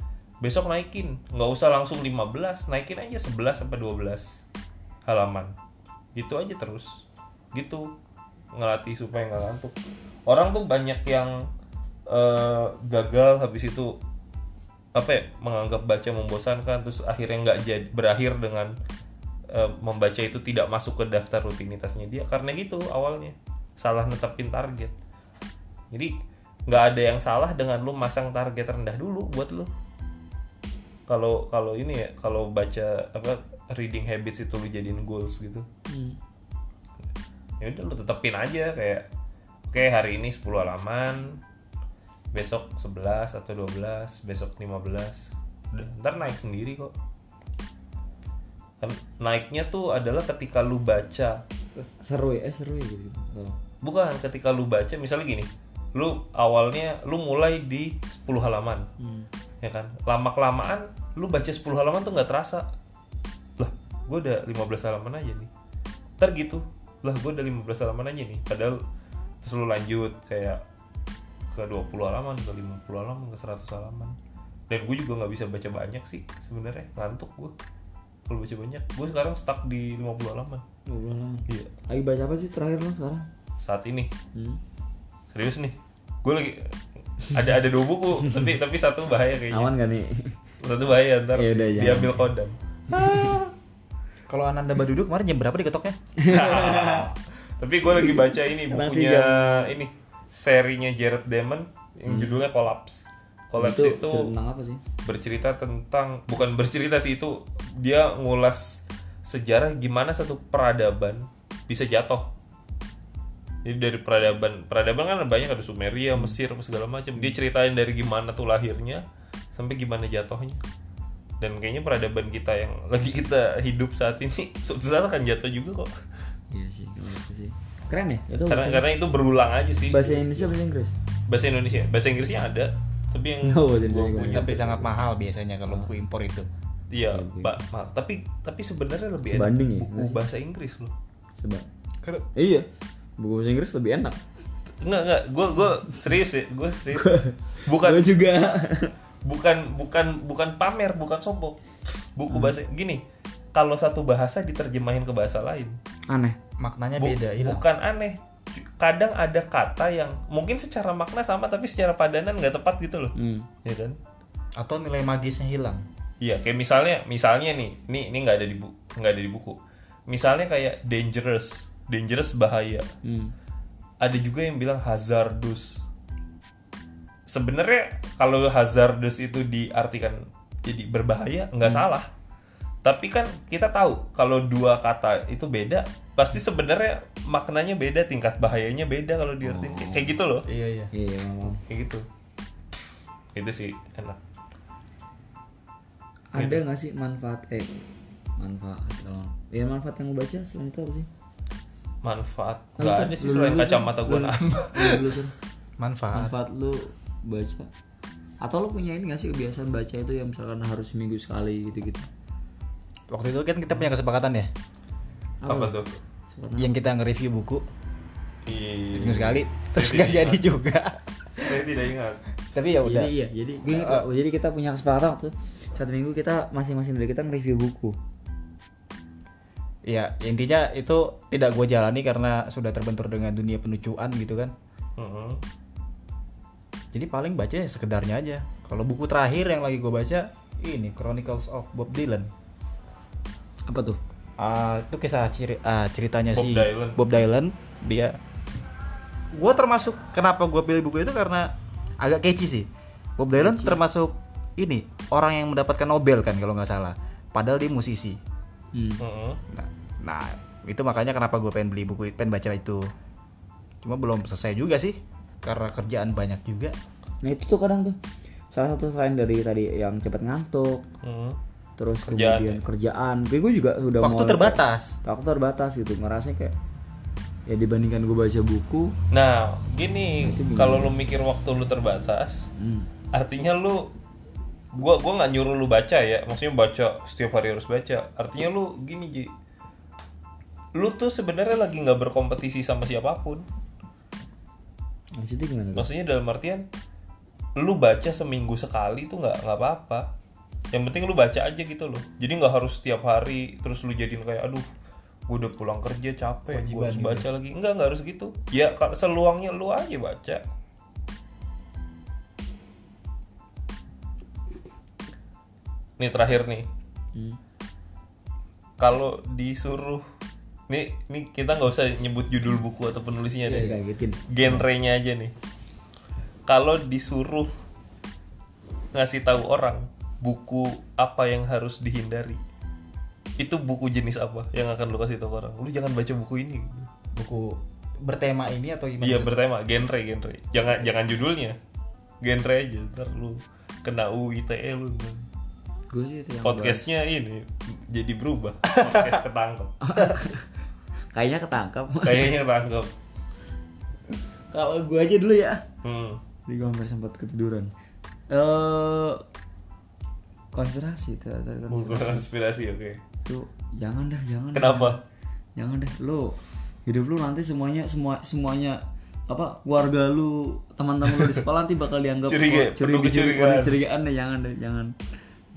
Speaker 1: besok naikin nggak usah langsung 15 naikin aja 11 sampai 12 halaman gitu aja terus gitu ngelatih supaya nggak ngantuk orang tuh banyak yang eh, gagal habis itu apa ya, menganggap baca membosankan terus akhirnya nggak jadi berakhir dengan eh, membaca itu tidak masuk ke daftar rutinitasnya dia karena gitu awalnya salah netepin target jadi nggak ada yang salah dengan lu masang target rendah dulu buat lu kalau kalau ini ya kalau baca apa reading habits itu lu jadiin goals gitu
Speaker 2: Hmm.
Speaker 1: ya udah lu tetepin aja kayak oke hari ini 10 halaman besok 11 atau 12 besok 15 udah ntar naik sendiri kok kan naiknya tuh adalah ketika lu baca
Speaker 2: seru ya eh seru ya gitu oh.
Speaker 1: bukan ketika lu baca misalnya gini lu awalnya lu mulai di 10 halaman ya kan lama kelamaan lu baca 10 halaman tuh nggak terasa lah gue udah 15 halaman aja nih ter gitu lah gue udah 15 halaman aja nih padahal terus lu lanjut kayak ke 20 halaman ke 50 halaman ke 100 halaman dan gue juga nggak bisa baca banyak sih sebenarnya ngantuk gue kalau baca banyak gue sekarang stuck di 50 halaman
Speaker 2: Ngobrol lah.
Speaker 1: iya
Speaker 2: lagi baca apa sih terakhir lo sekarang
Speaker 1: saat ini
Speaker 2: hmm.
Speaker 1: serius nih gue lagi ada ada dua
Speaker 2: [laughs]
Speaker 1: buku tapi tapi satu bahaya kayaknya
Speaker 2: aman gak nih
Speaker 1: satu bahaya ntar
Speaker 2: Ya udah, jangan.
Speaker 1: diambil
Speaker 2: [laughs]
Speaker 1: kodam
Speaker 3: kalau Ananda Badudu kemarin jam berapa ya? diketoknya
Speaker 1: [laughs] tapi gue lagi baca ini
Speaker 2: Karena
Speaker 1: bukunya
Speaker 2: sih
Speaker 1: ini serinya Jared Diamond yang judulnya Collapse Collapse
Speaker 2: Hmm. itu,
Speaker 1: itu
Speaker 2: cerita tentang apa sih
Speaker 1: bercerita tentang bukan bercerita sih itu dia ngulas sejarah gimana satu peradaban bisa jatuh Jadi dari peradaban, peradaban kan banyak ada Sumeria, Mesir, apa segala macam. Dia ceritain dari gimana tuh lahirnya sampai gimana jatuhnya. Dan kayaknya peradaban kita yang [laughs] lagi kita hidup saat ini suatu saat akan jatuh juga kok.
Speaker 2: Iya sih, kalau itu sih. Keren ya? Itu
Speaker 1: Karena, karena itu berulang aja sih.
Speaker 2: bahasa Indonesia bahasa Inggris.
Speaker 1: Bahasa Indonesia, bahasa Inggrisnya ada, tapi yang
Speaker 2: [laughs] Oh,
Speaker 1: gua
Speaker 2: bahasa Indonesia.
Speaker 1: punya
Speaker 3: tapi sangat mahal biasanya kalau buku impor itu
Speaker 1: Iya, Pak. Ma- Tapi tapi sebenarnya lebih
Speaker 2: Sebanding ya,
Speaker 1: buku bahasa Inggris loh.
Speaker 2: Coba. Iya. Buku bahasa Inggris lebih enak.
Speaker 1: Enggak enggak, gua gua serius ya, gua
Speaker 2: [laughs]
Speaker 1: serius.
Speaker 2: Gua
Speaker 1: Bukan
Speaker 2: juga.
Speaker 1: bukan bukan bukan pamer, bukan sombong.
Speaker 2: Hmm.
Speaker 1: Buku bahasa gini, kalau satu bahasa diterjemahin ke bahasa lain,
Speaker 2: Aneh.
Speaker 3: maknanya
Speaker 1: bu-
Speaker 3: Nah, beda iya. hilang
Speaker 1: bukan aneh. Cu- Kadang ada kata yang mungkin secara makna sama tapi secara padanan nggak tepat gitu loh.
Speaker 2: Hmm.
Speaker 1: Ya kan?
Speaker 3: atau nilai magisnya hilang
Speaker 1: Iya, kayak misalnya, misalnya nih, nih, ini nggak ada di buku, nggak ada di buku. Misalnya kayak dangerous, dangerous bahaya. Hmm. Ada juga yang bilang hazardous. Sebenarnya kalau hazardous itu diartikan jadi berbahaya, nggak salah. Tapi kan kita tahu kalau dua kata itu beda, pasti sebenarnya maknanya beda, tingkat bahayanya beda kalau diartikan Kayak- kayak gitu loh,
Speaker 3: iya iya
Speaker 2: Iya, maaf.
Speaker 1: kayak gitu. Itu sih enak.
Speaker 2: Ada nggak sih manfaat eh manfaat kalau ya manfaat yang lu baca selain itu apa sih?
Speaker 1: Manfaat
Speaker 2: Lu
Speaker 1: nggak
Speaker 2: tuh,
Speaker 1: ada sih
Speaker 2: lu
Speaker 1: selain
Speaker 2: dulu tuh,
Speaker 1: kacamata gue
Speaker 2: lu- Iya,
Speaker 1: nambah.
Speaker 2: lu dulu tuh.
Speaker 3: manfaat
Speaker 2: manfaat lu baca atau lu punya ini nggak sih kebiasaan baca itu yang misalkan harus seminggu sekali gitu-gitu?
Speaker 3: waktu itu kan kita punya kesepakatan ya
Speaker 1: apa tuh
Speaker 2: Sempat
Speaker 3: yang kita nge-review buku
Speaker 1: Iya.
Speaker 3: minggu sekali terus nggak jadi juga
Speaker 1: saya tidak ingat
Speaker 3: [laughs] tapi ya udah
Speaker 2: Jadi iya, jadi gini tuh, jadi kita punya kesepakatan waktu satu minggu kita masing-masing dari kita nge-review buku.
Speaker 3: ya intinya itu tidak gue jalani karena sudah terbentur dengan dunia penucuan gitu kan
Speaker 1: Mhm.
Speaker 3: jadi paling baca ya sekedarnya aja kalau buku terakhir yang lagi gue baca ini Chronicles of Bob Dylan
Speaker 2: Apa tuh?
Speaker 3: Ah, itu kisah ciri- ah, ceritanya
Speaker 1: Bob
Speaker 3: si
Speaker 1: Dylan.
Speaker 3: Bob Dylan dia gue termasuk kenapa gue pilih buku itu karena agak catchy sih Bob Dylan termasuk ini orang yang mendapatkan Nobel kan kalau nggak salah padahal dia musisi
Speaker 2: Hmm.
Speaker 1: Mhm.
Speaker 3: Nah, nah, itu makanya kenapa gue pengen beli buku, pengen baca itu. Cuma belum selesai juga sih, karena kerjaan banyak juga.
Speaker 2: Nah itu tuh kadang tuh salah satu selain dari tadi yang cepat ngantuk,
Speaker 1: Mhm.
Speaker 2: terus
Speaker 1: Kerjaan ya?
Speaker 2: kemudian kerjaan. Kayak gue juga udah
Speaker 3: Waktu
Speaker 2: mulai-
Speaker 3: terbatas.
Speaker 2: Waktu terbatas gitu, ngerasa kayak ya dibandingkan gue baca buku,
Speaker 1: nah gini kalau lu mikir waktu lu terbatas artinya lu gua gua nggak nyuruh lu baca ya maksudnya baca setiap hari harus baca artinya lu gini ji lu tuh sebenarnya lagi nggak berkompetisi sama siapapun
Speaker 2: maksudnya gimana? tuh?
Speaker 1: maksudnya dalam artian lu baca seminggu sekali tuh nggak nggak apa-apa yang penting lu baca aja gitu loh jadi nggak harus setiap hari terus lu jadiin kayak aduh gue udah pulang kerja capek gue harus baca lagi enggak nggak harus gitu ya kalau seluangnya lu aja baca nih terakhir nih kalau disuruh nih nih kita nggak usah nyebut judul buku atau
Speaker 2: Iya,
Speaker 1: penulisnya deh
Speaker 2: Kagetin.
Speaker 1: genrenya aja nih kalau disuruh ngasih tahu orang buku apa yang harus dihindari itu buku jenis apa yang akan lu kasih tahu orang lu jangan baca buku ini
Speaker 3: Buku bertema ini atau gimana?
Speaker 1: iya bertema genre genre jangan jangan judulnya genre aja ntar lu kena UU ITE E lu
Speaker 2: Gue sih itu yang
Speaker 1: podcastnya ini jadi berubah podcast ketangkep
Speaker 2: kayaknya ketangkap.
Speaker 1: [laughs] kayaknya ketangkep
Speaker 2: [laughs] Kalau gue aja dulu ya.
Speaker 1: hmm.
Speaker 2: Jadi gue hampir sempat ketiduran. Eh konspirasi teori
Speaker 1: buku
Speaker 2: konspirasi
Speaker 1: konspirasi oke
Speaker 2: itu jangan dah jangan dah.
Speaker 1: kenapa
Speaker 2: jangan deh lu hidup lu nanti semuanya semua semuanya apa keluarga lu teman-teman lu di sekolah nanti bakal dianggap
Speaker 1: Curiga,
Speaker 2: curi-
Speaker 1: penuh kecurigaan.
Speaker 2: penuh kecurigaan deh jangan deh jangan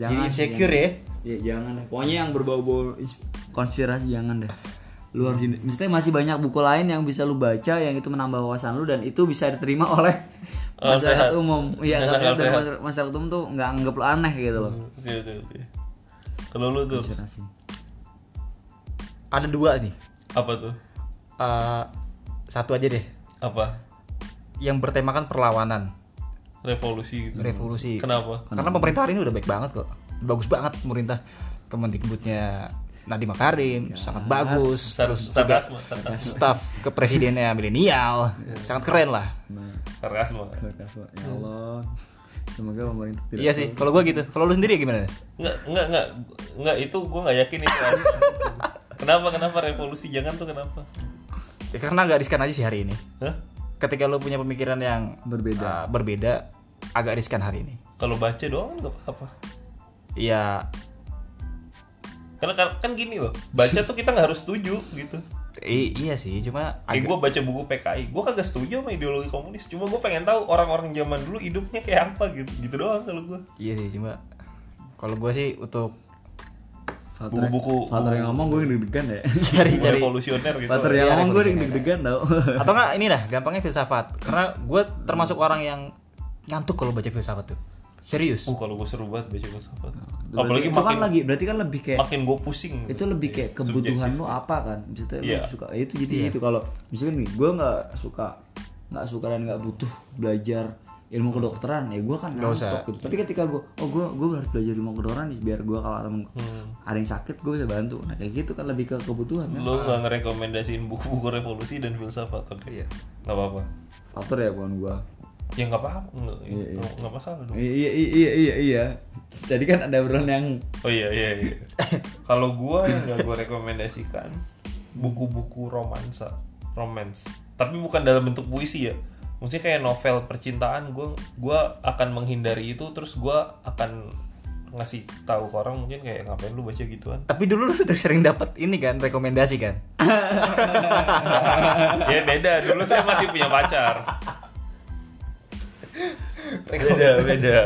Speaker 2: jangan
Speaker 3: Jadi insecure ya?
Speaker 2: ya jangan deh pokoknya yang berbau-bau ins- konspirasi jangan deh lu harus ini- maksudnya masih banyak buku lain yang bisa lu baca yang itu menambah wawasan lu dan itu bisa diterima [laughs] oleh
Speaker 1: Oh, sehat.
Speaker 2: masyarakat umum iya
Speaker 1: Dan akal
Speaker 2: masyarakat, dan
Speaker 1: sehat.
Speaker 2: masyarakat- masyarakat umum tuh nggak anggap lu aneh gitu loh
Speaker 1: oke oke oke kalau lu tuh
Speaker 2: konspirasi
Speaker 3: Ada dua nih.
Speaker 1: apa tuh
Speaker 3: Eh, satu aja deh,
Speaker 1: apa
Speaker 3: yang bertemakan perlawanan,
Speaker 1: revolusi gitu
Speaker 3: revolusi.
Speaker 1: kenapa
Speaker 3: Karena pemerintah hari ini udah baik banget kok, bagus banget pemerintah Kemendikbudnya Nadiem Makarim sangat bagus
Speaker 1: Sar-
Speaker 3: terus juga ya,
Speaker 1: sarkasme, sarkasme.
Speaker 3: staff kepresidennya milenial sangat keren lah
Speaker 2: Nah,
Speaker 1: sarkasme
Speaker 2: sarkasme. Ya Allah. Semoga pemerintah tidak
Speaker 3: iya sih kalau gua gitu kalau lu sendiri gimana
Speaker 1: nggak nggak nggak nggak itu gue nggak yakin itu [laughs] kenapa kenapa revolusi jangan tuh kenapa
Speaker 3: ya, karena nggak riskan aja sih hari ini
Speaker 1: Hah?
Speaker 3: ketika lu punya pemikiran yang
Speaker 2: Berbeda.
Speaker 3: uh, berbeda agak riskan hari ini
Speaker 1: kalau baca doang kan nggak apa-apa
Speaker 3: ya
Speaker 1: karena kan, kan gini loh baca tuh kita nggak harus setuju gitu
Speaker 3: i- iya sih cuma
Speaker 1: kayak gue baca buku PKI gue kagak setuju sama ideologi komunis cuma gue pengen tahu orang-orang zaman dulu hidupnya kayak apa gitu gitu doang kalau gue
Speaker 3: iya sih cuma kalau gua sih untuk
Speaker 2: Falter-
Speaker 1: Buku-buku- Iya,
Speaker 2: Falter yang ngomong gue deg-degan
Speaker 1: [laughs]
Speaker 2: ya.
Speaker 3: cari cari
Speaker 1: revolusioner gitu
Speaker 2: Falter yang
Speaker 3: Iya,
Speaker 2: ngomong gue
Speaker 3: revolusioner.
Speaker 2: deg-degan tau.
Speaker 3: atau enggak ini dah gampangnya filsafat karena gue termasuk orang yang ngantuk kalau baca filsafat tuh serius
Speaker 1: Uh, kalau gue seru banget baca filsafat apalagi
Speaker 2: Itu
Speaker 1: makin
Speaker 2: kan lagi berarti kan lebih kayak
Speaker 1: makin gue pusing
Speaker 2: itu lebih kayak kebutuhan lu apa kan misalnya
Speaker 1: Iya.
Speaker 2: lu suka ya itu jadi itu kalau misalkan nih gue nggak suka nggak suka dan nggak butuh belajar ilmu kedokteran ya gue kan ngantuk gitu. tapi ketika gue oh gue gue harus belajar ilmu kedokteran nih biar gue kalau temen
Speaker 1: Hmm.
Speaker 2: ada yang sakit gue bisa bantu nah kayak gitu kan lebih ke kebutuhan kan
Speaker 1: lo nggak ngerekomendasiin buku-buku revolusi dan filsafat oke
Speaker 2: Iya.
Speaker 1: nggak apa-apa
Speaker 2: faktor ya bukan gue
Speaker 1: ya nggak apa-apa nggak nggak- nggak masalah dong
Speaker 2: iya iya iya iya iya jadi kan ada obrolan yang
Speaker 1: oh iya iya,
Speaker 2: [laughs]
Speaker 1: iya. kalau gue yang nggak gue rekomendasikan buku-buku romansa romance tapi bukan dalam bentuk puisi ya maksudnya kayak novel percintaan gue gua akan menghindari itu terus gue akan ngasih tahu ke orang mungkin kayak ngapain lu baca gituan
Speaker 3: tapi dulu lu udah sering dapat ini kan rekomendasi kan
Speaker 1: ya beda dulu saya masih punya pacar beda beda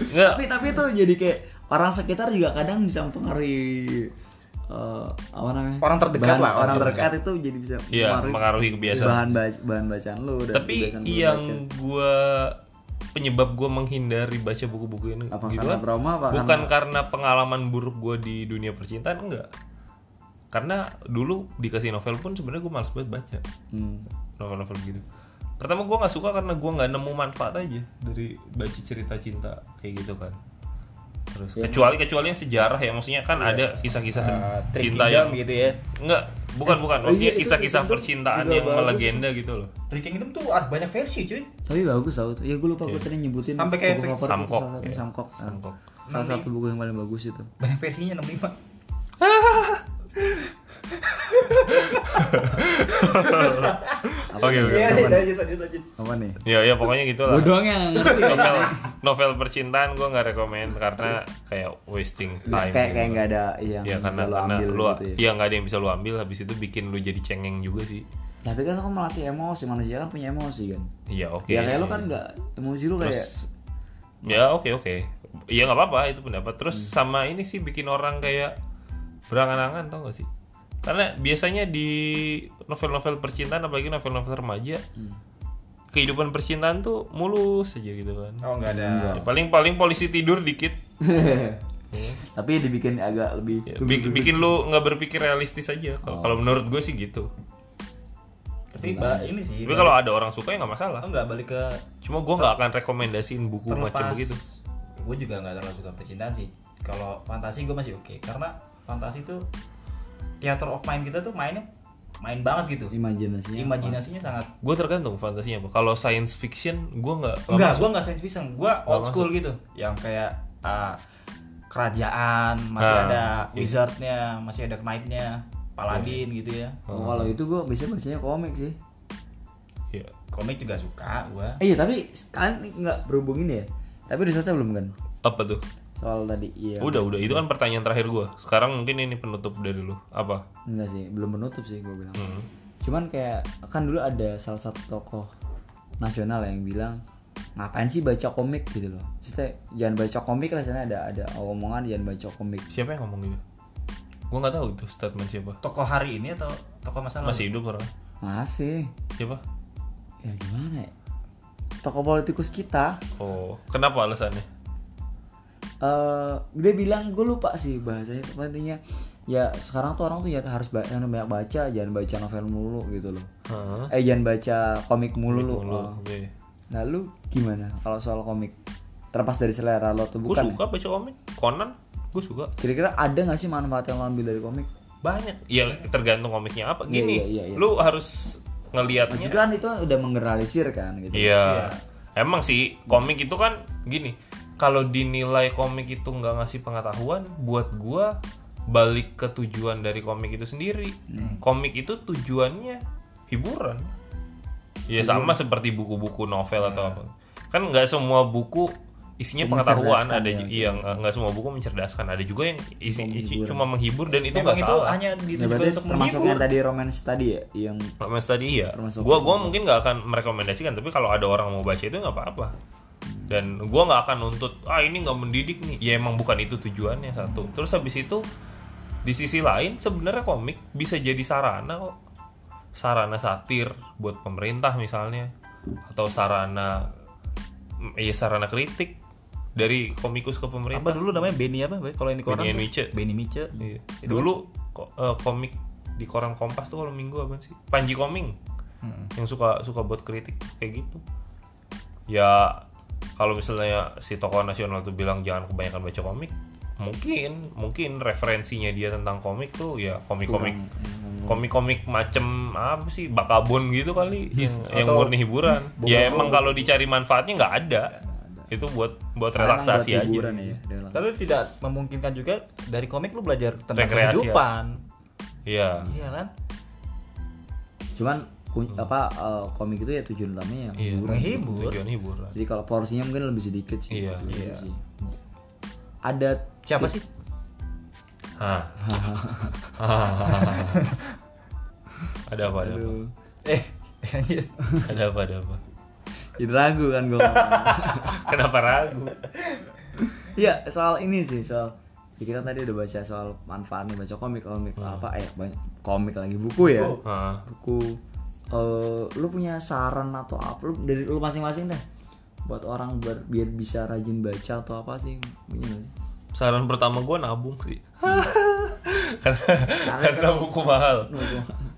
Speaker 1: nggak
Speaker 2: tapi tapi itu jadi kayak orang sekitar juga kadang bisa mempengaruhi eh, apa namanya
Speaker 3: Orang terdekat
Speaker 2: Bahan-
Speaker 3: lah, orang
Speaker 2: orang terdekat itu jadi bisa
Speaker 1: Iya, mempengaruhi kebiasaan.
Speaker 2: bahan baca- bahan bacaan lu dan
Speaker 1: tapi iya,
Speaker 2: kebiasaan lu baca.
Speaker 1: yang gua penyebab gua menghindari baca buku-buku ini
Speaker 2: Apa
Speaker 1: gitu
Speaker 2: karena
Speaker 1: kan,
Speaker 2: trauma, apa
Speaker 1: bukan karena... pengalaman buruk gua di dunia percintaan enggak karena dulu dikasih novel pun sebenarnya gua males banget baca
Speaker 2: Hmm.
Speaker 1: novel-novel gitu pertama gua nggak suka karena gua nggak nemu manfaat aja dari baca cerita cinta kayak gitu kan terus
Speaker 2: Ya,
Speaker 1: kecuali kecuali yang sejarah ya maksudnya kan
Speaker 2: Iya.
Speaker 1: ada kisah-kisah
Speaker 2: Ah,
Speaker 1: Ah, cinta yang
Speaker 3: gitu ya
Speaker 1: enggak bukan bukan maksudnya
Speaker 2: iya, itu-
Speaker 1: kisah-kisah
Speaker 2: itu juga
Speaker 1: percintaan yang
Speaker 2: bagus.
Speaker 1: melegenda gitu loh
Speaker 3: Breaking Kingdom tuh ada banyak versi cuy
Speaker 2: tapi bagus tau ya gue lupa gue tadi nyebutin
Speaker 3: Sampai kayak
Speaker 2: buku favorit
Speaker 1: Iya. Samkok,
Speaker 2: itu salah satu
Speaker 1: iya.
Speaker 2: samkok Nah,
Speaker 1: Samkok.
Speaker 2: salah satu buku yang paling bagus itu
Speaker 3: banyak versinya 65
Speaker 1: oke
Speaker 2: ya?
Speaker 1: oke
Speaker 3: [laughs]
Speaker 2: Iya,
Speaker 3: lanjut lanjut lanjut
Speaker 2: apa nih
Speaker 1: Ya ya pokoknya gitulah.
Speaker 2: gue doang yang ngerti
Speaker 1: Novel novel percintaan gue nggak rekomend karena kayak wasting [laughs] time.
Speaker 2: Iya, kayak
Speaker 1: gitu.
Speaker 2: kayak nggak ada yang
Speaker 1: Ya
Speaker 2: bisa
Speaker 1: karena
Speaker 2: lu
Speaker 1: karena
Speaker 2: ambil
Speaker 1: lu
Speaker 2: gitu ya.
Speaker 1: ya nggak ada yang bisa lu ambil habis itu bikin lu jadi cengeng juga sih.
Speaker 2: tapi kan lu melatih emosi manusia kan punya emosi kan
Speaker 1: Iya oke.
Speaker 2: ya kayak lu kan nggak emosi lu kayak
Speaker 1: Ya oke oke. Ya nggak apa-apa itu pendapat. Terus sama ini sih bikin orang kayak berangan-angan tau gak sih? Karena biasanya di novel-novel percintaan apalagi novel-novel remaja kehidupan percintaan tuh mulus aja gitu kan.
Speaker 3: oh nggak ada
Speaker 1: Ya, Paling-paling polisi tidur dikit
Speaker 2: [laughs] tapi dibikin agak lebih
Speaker 1: Ya, bi- bikin lu nggak berpikir realistis aja kalau kalau menurut gue sih gitu
Speaker 5: tapi ba- ini sih
Speaker 1: tapi kalau ada orang suka ya nggak masalah
Speaker 5: oh, nggak balik ke
Speaker 1: cuma gue nggak akan rekomendasiin buku
Speaker 5: terlepas
Speaker 1: macam begitu
Speaker 5: gue juga nggak terlalu suka percintaan sih kalau fantasi gue masih oke karena fantasi tuh theater of mind kita tuh mainnya main banget gitu
Speaker 2: imajinasinya
Speaker 1: Iya,
Speaker 5: imajinasinya sangat
Speaker 1: gue tergantung fantasinya apa kalau science fiction gue nggak nggak
Speaker 5: enggak
Speaker 1: masuk.
Speaker 5: gue nggak science fiction gue old school gitu yang kayak ah, kerajaan masih
Speaker 1: Ah,
Speaker 5: ada wizardnya masih ada knightnya paladin gitu ya
Speaker 2: Oh, kalau itu gue biasanya bacanya komik sih.
Speaker 1: Iya.
Speaker 5: komik juga suka gue
Speaker 2: Eh, iya, tapi kalian nggak berhubungin ya? Tapi risetnya belum kan?
Speaker 1: apa tuh
Speaker 2: Soal tadi iya.
Speaker 1: udah udah itu kan pertanyaan terakhir gue sekarang mungkin ini penutup dari lu apa
Speaker 2: Enggak sih, belum menutup sih gue bilang. Cuman kayak kan dulu ada salah satu tokoh nasional yang bilang ngapain sih baca komik gitu loh. Maksudnya jangan baca komik lah sana ada ada omongan jangan baca komik.
Speaker 1: siapa yang ngomong gitu gue nggak tahu itu statement siapa
Speaker 5: tokoh hari ini atau tokoh masa lalu
Speaker 1: masih hidup orang
Speaker 2: Masih.
Speaker 1: siapa
Speaker 2: Ya gimana ya? Tokoh politikus kita
Speaker 1: oh kenapa alasannya
Speaker 2: eh dia bilang gue lupa sih bahasanya tapi intinya ya sekarang tuh orang tuh ya harus ba- jangan banyak baca jangan baca novel mulu gitu loh
Speaker 1: Heeh.
Speaker 2: eh jangan baca komik mulu lu
Speaker 1: Mulu,
Speaker 2: oh.
Speaker 1: oke.
Speaker 2: nah lu gimana kalau soal komik terlepas dari selera lo tuh
Speaker 1: Gue
Speaker 2: bukan
Speaker 1: suka baca komik Conan gue suka
Speaker 2: Kira-kira ada nggak sih manfaat yang lo ambil dari komik?
Speaker 1: banyak ya tergantung komiknya apa
Speaker 2: Iya,
Speaker 1: gini
Speaker 2: iya, iya, iya.
Speaker 1: lu harus ngelihatnya
Speaker 2: Maksudnya kan itu udah menggeneralisir kan gitu.
Speaker 1: Iya. Emang sih komik itu kan gini. Kalau dinilai komik itu nggak ngasih pengetahuan, buat gua balik ke tujuan dari komik itu sendiri. Komik itu tujuannya hiburan. Ya sama seperti buku-buku novel atau apa. Kan nggak semua buku isinya pengetahuan ada ju- iya nggak nggak semua buku mencerdaskan ada juga yang isi, isi cuma menghibur dan itu
Speaker 5: Memang
Speaker 1: nggak
Speaker 5: itu
Speaker 1: salah
Speaker 5: hanya
Speaker 2: Nah,
Speaker 5: ditujukan
Speaker 2: berarti
Speaker 5: untuk
Speaker 2: termasuk
Speaker 5: menghibur.
Speaker 2: yang tadi romance tadi ya yang
Speaker 1: Romance tadi iya.
Speaker 2: Termasuk
Speaker 1: Gua gua mungkin nggak akan merekomendasikan tapi kalau ada orang mau baca itu nggak apa-apa. Dan gua nggak akan nuntut ah ini nggak mendidik nih. Ya emang bukan itu tujuannya satu. Terus habis itu di sisi lain sebenarnya komik bisa jadi sarana kok. Sarana satir buat pemerintah misalnya atau sarana mm, iya sarana kritik dari komikus ke
Speaker 3: apa
Speaker 1: pemerintah.
Speaker 3: dulu namanya Benny apa Boy? kalau ini koran
Speaker 1: Benny
Speaker 3: tuh?
Speaker 1: Mice.
Speaker 3: Benny Mice
Speaker 1: Iya. Dulu ko- eh, komik di koran Kompas tuh kalau minggu apa sih? Panji Koming. Yang suka suka buat kritik kayak gitu. Ya kalau misalnya si tokoh nasional tuh bilang jangan kebanyakan baca komik, mungkin mungkin referensinya dia tentang komik tuh ya komik-komik komik-komik macem apa sih bakabun gitu [laughs] kali yang yang murni hiburan. Ya emang kalau dicari manfaatnya nggak ada. Itu buat buat relaksasi
Speaker 2: buat
Speaker 1: aja.
Speaker 2: hiburan ya. dalam-
Speaker 3: tapi tidak memungkinkan juga dari komik lu belajar tentang
Speaker 1: Rekreasi, ya.
Speaker 3: kehidupan
Speaker 1: Iya.
Speaker 3: iya kan
Speaker 2: Cuman kun- apa eh, komik itu ya tujuan utamanya
Speaker 1: Hmm. Iya.
Speaker 2: ya.
Speaker 3: menghibur
Speaker 1: Tujuan hiburan.
Speaker 2: Jadi kalau porsinya mungkin lebih sedikit sih.
Speaker 1: Iya.
Speaker 2: Lebih sedikit sih. Ada
Speaker 3: siapa sih
Speaker 1: Hah. ada apa ada apa
Speaker 3: eh [laughs] lanjut
Speaker 1: ada apa ada apa
Speaker 2: tidak ragu kan gue.
Speaker 1: kenapa ragu
Speaker 2: [laughs] Iya soal ini sih soal ya kita tadi udah baca soal manfaatnya baca komik komik
Speaker 1: Hmm.
Speaker 2: apa eh banyak komik lagi buku ya
Speaker 1: Heeh.
Speaker 2: buku eh, lu punya saran atau apa lu dari lu masing-masing dah buat orang biar, biar bisa rajin baca atau apa sih punya nggak sih?
Speaker 1: saran pertama gue nabung sih karena karena buku mahal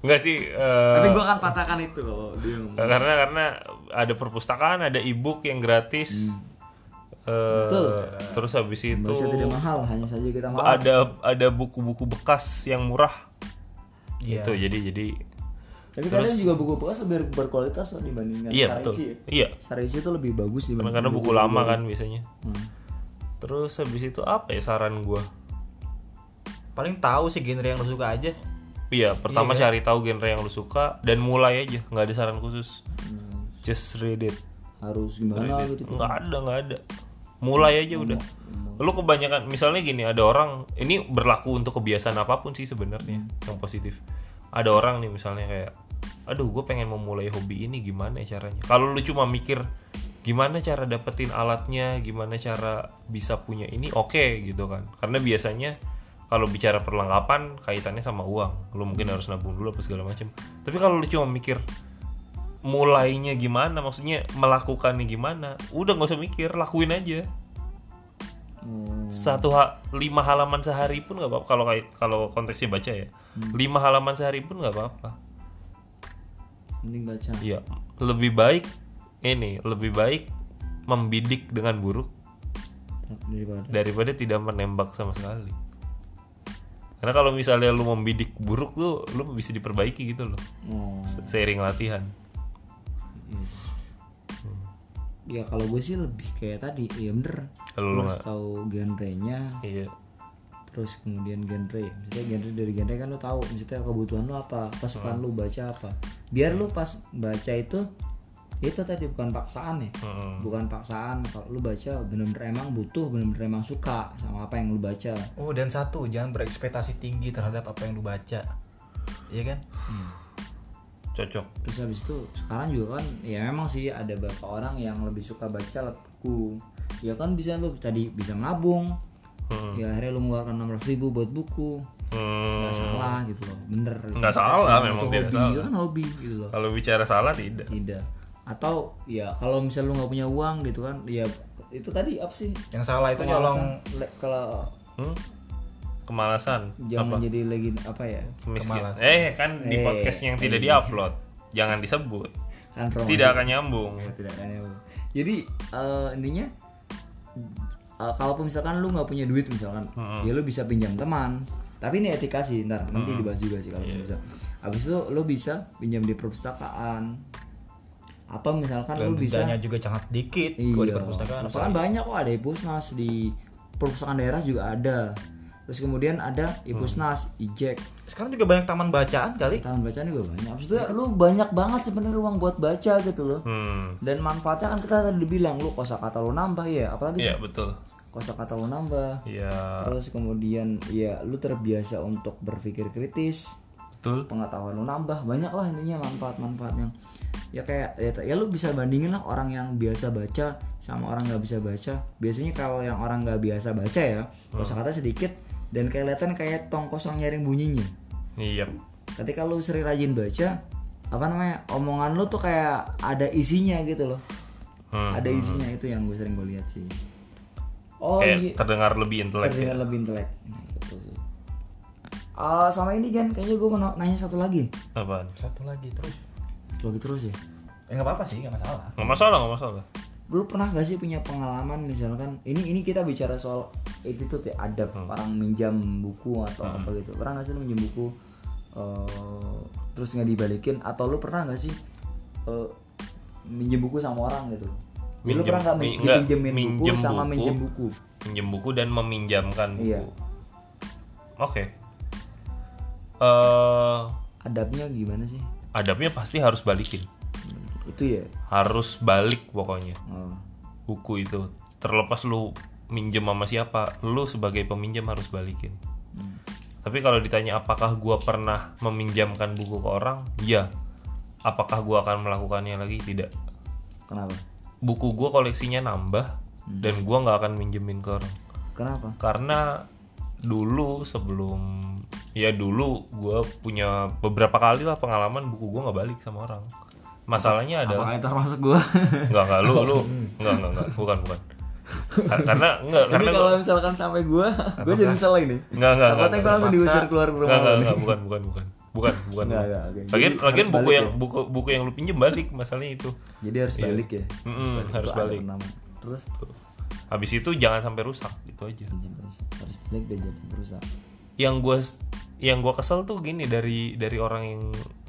Speaker 1: nggak sih eh,
Speaker 2: tapi gua akan patahkan itu kalau dia ngomong
Speaker 1: karena karena ada perpustakaan ada e-book yang gratis Eh, terus habis itu
Speaker 2: baca tidak mahal hanya saja kita mahal
Speaker 1: ada ada buku-buku bekas yang murah
Speaker 3: Iya.
Speaker 1: itu jadi jadi
Speaker 2: tapi kadang juga buku bekas lebih berkualitas loh dibandingkan
Speaker 1: Iya
Speaker 2: Sarisi
Speaker 1: betul.
Speaker 2: ya.
Speaker 1: Iya.
Speaker 2: Sarisi itu lebih bagus Hmm,
Speaker 1: Karena,
Speaker 2: dibandingkan
Speaker 1: karena buku lama kan biasanya. Terus habis itu apa ya saran gua?
Speaker 3: paling tahu sih genre yang lu suka aja
Speaker 1: Iya, pertama cari tahu genre yang lu suka dan mulai aja, nggak ada saran khusus. Just read it.
Speaker 2: hmm. harus gimana gitu
Speaker 1: Nggak ada, nggak ada. Mulai aja udah. Lu kebanyakan misalnya gini, ada orang ini berlaku untuk kebiasaan apapun sih sebenarnya yang positif. Ada orang nih misalnya kayak aduh gue pengen memulai hobi ini gimana ya caranya kalau lu cuma mikir gimana cara dapetin alatnya gimana cara bisa punya ini oke gitu kan karena biasanya kalau bicara perlengkapan kaitannya sama uang lu mungkin harus nabung dulu apa segala macam tapi kalau lu cuma mikir mulainya gimana maksudnya melakukannya gimana udah nggak usah mikir lakuin aja
Speaker 2: Hmm,
Speaker 1: satu ha- lima halaman sehari pun nggak apa-apa kalau kait- kalau konteksnya baca ya lima halaman sehari pun nggak apa-apa
Speaker 2: mending baca
Speaker 1: Iya, lebih baik ini lebih baik membidik dengan buruk
Speaker 2: daripada
Speaker 1: daripada tidak menembak sama sekali. Karena kalau misalnya lu membidik buruk tuh lu bisa diperbaiki gitu loh.
Speaker 2: oh iya.
Speaker 1: se- Seiring latihan. Hmm.
Speaker 2: ya kalau gue sih lebih kayak tadi ya bener
Speaker 1: Kalau lu
Speaker 2: harus
Speaker 1: nggak-
Speaker 2: tahu genrenya
Speaker 1: Iya.
Speaker 2: terus kemudian genre ya. maksudnya genre dari genre kan lo tahu maksudnya kebutuhan lo apa pasukan lo baca apa biar lo pas baca itu itu tadi bukan paksaan ya bukan paksaan kalau lo baca bener-bener emang butuh bener-bener emang suka sama apa yang lo baca
Speaker 3: oh dan satu jangan berekspektasi tinggi terhadap apa yang lu baca iya kan
Speaker 1: Cocok.
Speaker 2: terus habis itu sekarang juga kan ya memang sih ada beberapa orang yang lebih suka baca lewat buku ya kan bisa lo tadi bisa nabung ya akhirnya lo mengeluarkan enam ribu buat buku
Speaker 1: Hmm,
Speaker 2: nggak salah gitu loh bener
Speaker 1: Nggak salah,
Speaker 2: Itu
Speaker 1: memang
Speaker 2: hobi
Speaker 1: tidak salah.
Speaker 2: itu kan hobi gitu loh
Speaker 1: kalau bicara salah tidak.
Speaker 2: tidak atau ya kalau misal lu nggak punya uang gitu kan ya itu tadi apa sih
Speaker 3: yang salah itu nyolong
Speaker 2: Kewalasan. Le- kalau
Speaker 1: Hmm? Kemalasan.
Speaker 2: jangan jadi lagi apa ya
Speaker 1: Miskin.
Speaker 3: Kemalasan.
Speaker 1: Eh, kan di
Speaker 2: Eh,
Speaker 1: podcast yang tidak diupload. Jangan disebut.
Speaker 2: kan Iya,
Speaker 1: Tidak akan nyambung.
Speaker 2: tidak kan jadi eh, intinya eh, kalaupun misalkan lu nggak punya duit misalkan ya lu bisa pinjam teman tapi ini etika sih ntar nanti dibahas juga sih
Speaker 3: Iya.
Speaker 2: kalau bisa abis itu lu bisa pinjam di perpustakaan atau misalkan
Speaker 3: dan
Speaker 2: lu bisa
Speaker 3: dendanya juga sangat dikit
Speaker 2: Iya.
Speaker 3: kalau di perpustakaan
Speaker 2: Perpustakaan banyak kok ada Ipusnas di perpustakaan daerah juga ada. Terus kemudian ada Ipusnas,
Speaker 3: Hmm.
Speaker 2: Ijek.
Speaker 3: sekarang juga banyak taman bacaan kali
Speaker 2: Taman bacaan juga banyak. Abis itu ya,
Speaker 3: Hmm.
Speaker 2: lu banyak banget sebenarnya ruang buat baca gitu loh.
Speaker 1: Hmm.
Speaker 2: Dan manfaatnya kan kita tadi bilang lu kosakata lu nambah ya, apalagi
Speaker 1: Iya
Speaker 2: sih?
Speaker 1: betul.
Speaker 2: kosakata lu nambah.
Speaker 3: Ah.
Speaker 1: Iya
Speaker 2: Terus kemudian ya lu terbiasa untuk berpikir kritis,
Speaker 1: betul.
Speaker 2: pengetahuan lu nambah, banyak lah intinya manfaat-manfaatnya. Ya kayak ya, ya lu bisa bandingin lah orang yang biasa baca sama orang nggak bisa baca. Biasanya kalau yang orang nggak biasa baca ya,
Speaker 1: Hmm.
Speaker 2: kosakata sedikit dan kelihatan kayak tong kosong nyaring bunyinya.
Speaker 1: Iya.
Speaker 2: Ketika lu sering rajin baca, apa namanya? Omongan lu tuh kayak ada isinya gitu loh.
Speaker 1: Hmm.
Speaker 2: Ada isinya itu yang gue sering gue lihat sih. Oh
Speaker 1: Kayak
Speaker 2: iya
Speaker 1: terdengar lebih Eh, intelek.
Speaker 2: terdengar
Speaker 1: Ya.
Speaker 2: lebih intelek Nah, gitu sih. Ah, sama ini Jan, kayaknya gue mau na- nanya satu lagi
Speaker 1: Apaan?
Speaker 5: Satu lagi terus.
Speaker 2: Lagi terus ya
Speaker 5: Eh nggak apa-apa sih, nggak masalah.
Speaker 1: Nggak masalah, nggak masalah.
Speaker 2: Lu pernah gak sih punya pengalaman misalkan Ini ini kita bicara soal attitude ya Adab
Speaker 1: Hmm.
Speaker 2: orang minjam buku atau apa gitu Pernah gak sih lu minjem buku eh, Terus nggak dibalikin Atau lu pernah gak sih eh, Minjem buku sama orang gitu Ya, Lu
Speaker 1: Minjem-
Speaker 2: pernah gak
Speaker 1: mi-
Speaker 2: min-
Speaker 1: nggak,
Speaker 2: dipinjemin buku
Speaker 1: minjem
Speaker 2: sama
Speaker 1: buku.
Speaker 2: minjem buku
Speaker 1: Pinjem buku dan meminjamkan buku.
Speaker 2: Iya.
Speaker 1: Oke. Eh
Speaker 2: Adabnya gimana sih
Speaker 1: adabnya pasti harus balikin.
Speaker 2: Itu ya
Speaker 1: Harus balik pokoknya.
Speaker 2: Oh.
Speaker 1: Buku itu terlepas lu minjem sama siapa, lu sebagai peminjam harus balikin. Tapi kalau ditanya apakah gua pernah meminjamkan buku ke orang? Iya. Apakah gua akan melakukannya lagi? Tidak.
Speaker 2: Kenapa?
Speaker 1: Buku gua koleksinya nambah dan gua nggak akan minjemin ke orang.
Speaker 2: Kenapa?
Speaker 1: karena dulu sebelum ya dulu gue punya beberapa kali lah pengalaman buku gue nggak balik sama orang masalahnya adalah
Speaker 2: Apakah itu termasuk gua?
Speaker 1: [laughs] nggak nggak
Speaker 2: Oh.
Speaker 1: lu lu nggak nggak nggak bukan bukan Kar- karena nggak
Speaker 2: Ini
Speaker 1: karena
Speaker 2: kalau
Speaker 1: gua-
Speaker 2: misalkan sampai gua, gua jadi salah ini.
Speaker 1: nggak nggak nggak
Speaker 2: Takutnya gua langsung
Speaker 1: terpaksa.
Speaker 2: diusir keluar rumah.
Speaker 1: Nggak, nggak,
Speaker 2: lu.
Speaker 1: nggak, bukan bukan bukan bukan bukan
Speaker 2: Nggak, nggak, oke.
Speaker 1: lagian
Speaker 2: Jadi
Speaker 1: lagian
Speaker 2: harus
Speaker 1: buku
Speaker 2: balik
Speaker 1: yang
Speaker 2: ya?
Speaker 1: buku buku yang lu pinjem balik masalahnya itu
Speaker 2: Jadi harus balik
Speaker 1: Iya.
Speaker 2: ya.
Speaker 1: Mm-mm, harus
Speaker 2: Itu ada
Speaker 1: balik
Speaker 2: nama. Terus
Speaker 1: Tuh. habis itu jangan sampai rusak gitu aja
Speaker 2: pinjam perusak. Harus balik dan jadi perusak.
Speaker 1: yang gue yang gua kesel tuh gini dari dari orang yang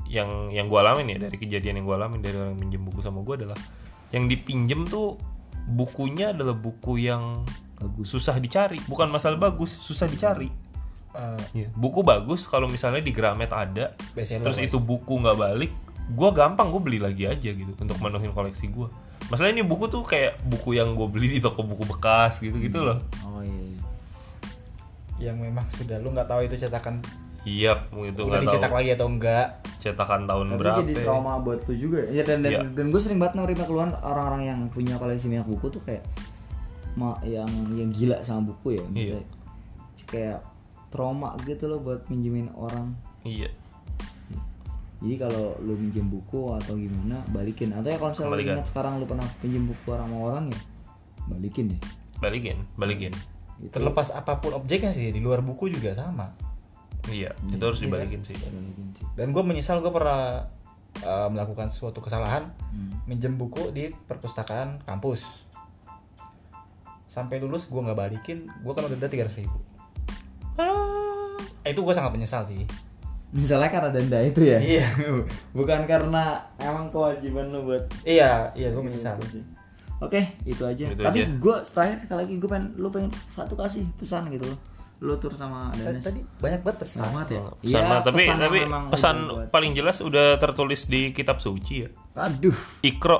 Speaker 1: yang yang gue alamin ya dari kejadian yang gue alamin dari orang yang minjem buku sama gue adalah yang dipinjem tuh bukunya adalah buku yang susah dicari bukan masalah bagus susah dicari
Speaker 5: Eh,
Speaker 1: Iya. buku bagus kalau misalnya di Gramet ada
Speaker 5: Bestseller,
Speaker 1: terus
Speaker 5: Mas.
Speaker 1: itu buku nggak balik gue gampang gue beli lagi aja gitu untuk menuhin koleksi gue masalah ini buku tuh kayak buku yang gue beli di toko buku bekas gitu gitu loh
Speaker 2: Oh iya. iya.
Speaker 5: yang memang sudah lu nggak tahu itu cetakan
Speaker 1: iya gitu
Speaker 5: udah
Speaker 1: nggak
Speaker 5: dicetak
Speaker 1: tahu
Speaker 5: lagi atau enggak.
Speaker 1: cetakan tahun
Speaker 2: Tapi
Speaker 1: berapa ya?
Speaker 2: jadi trauma buat lu juga. ya? Iya dan dan,
Speaker 1: Iya.
Speaker 2: dan gue sering banget nerima keluhan orang-orang yang punya koleksi banyak buku tuh kayak ma yang yang gila sama buku ya.
Speaker 1: Iya.
Speaker 2: Maksudnya Kayak trauma gitu loh buat minjemin orang.
Speaker 1: Iya.
Speaker 2: Jadi kalau lu minjem buku atau gimana balikin atau ya kalau misalnya lu
Speaker 1: Kembalikan.
Speaker 2: ingat sekarang lu pernah pinjem buku orang sama orang ya balikin deh.
Speaker 1: Balikin, balikin.
Speaker 2: Itu
Speaker 5: Terlepas apapun objeknya sih, di luar buku juga sama.
Speaker 1: Iya,
Speaker 2: Hmm.
Speaker 1: itu harus dibalikin sih.
Speaker 2: balikin sih.
Speaker 5: Dan gue menyesal gue pernah eh, melakukan suatu kesalahan,
Speaker 2: Hmm.
Speaker 5: minjem buku di perpustakaan kampus. Sampai lulus gue nggak balikin, gue kan udah ada tiga ribu. Eh, itu gue sangat menyesal sih.
Speaker 2: Misalnya karena denda itu ya.
Speaker 5: Iya.
Speaker 2: Bukan karena emang kewajiban lu buat
Speaker 5: Iya, iya gue menyesal.
Speaker 2: Oke, itu aja.
Speaker 1: Itu aja.
Speaker 2: Tapi gue terakhir sekali lagi gue pengen lu pengen satu kasih pesan gitu loh. Lu tur sama
Speaker 5: Tadi,
Speaker 2: Danes.
Speaker 5: tadi banyak banget pesan.
Speaker 2: Banyak banget ya.
Speaker 1: Pesan
Speaker 2: Iya,
Speaker 1: mah, tapi
Speaker 2: pesan
Speaker 1: tapi
Speaker 2: yang memang
Speaker 1: pesan
Speaker 2: lu buat.
Speaker 1: paling jelas udah tertulis di kitab suci ya.
Speaker 2: Aduh,
Speaker 1: Ikro.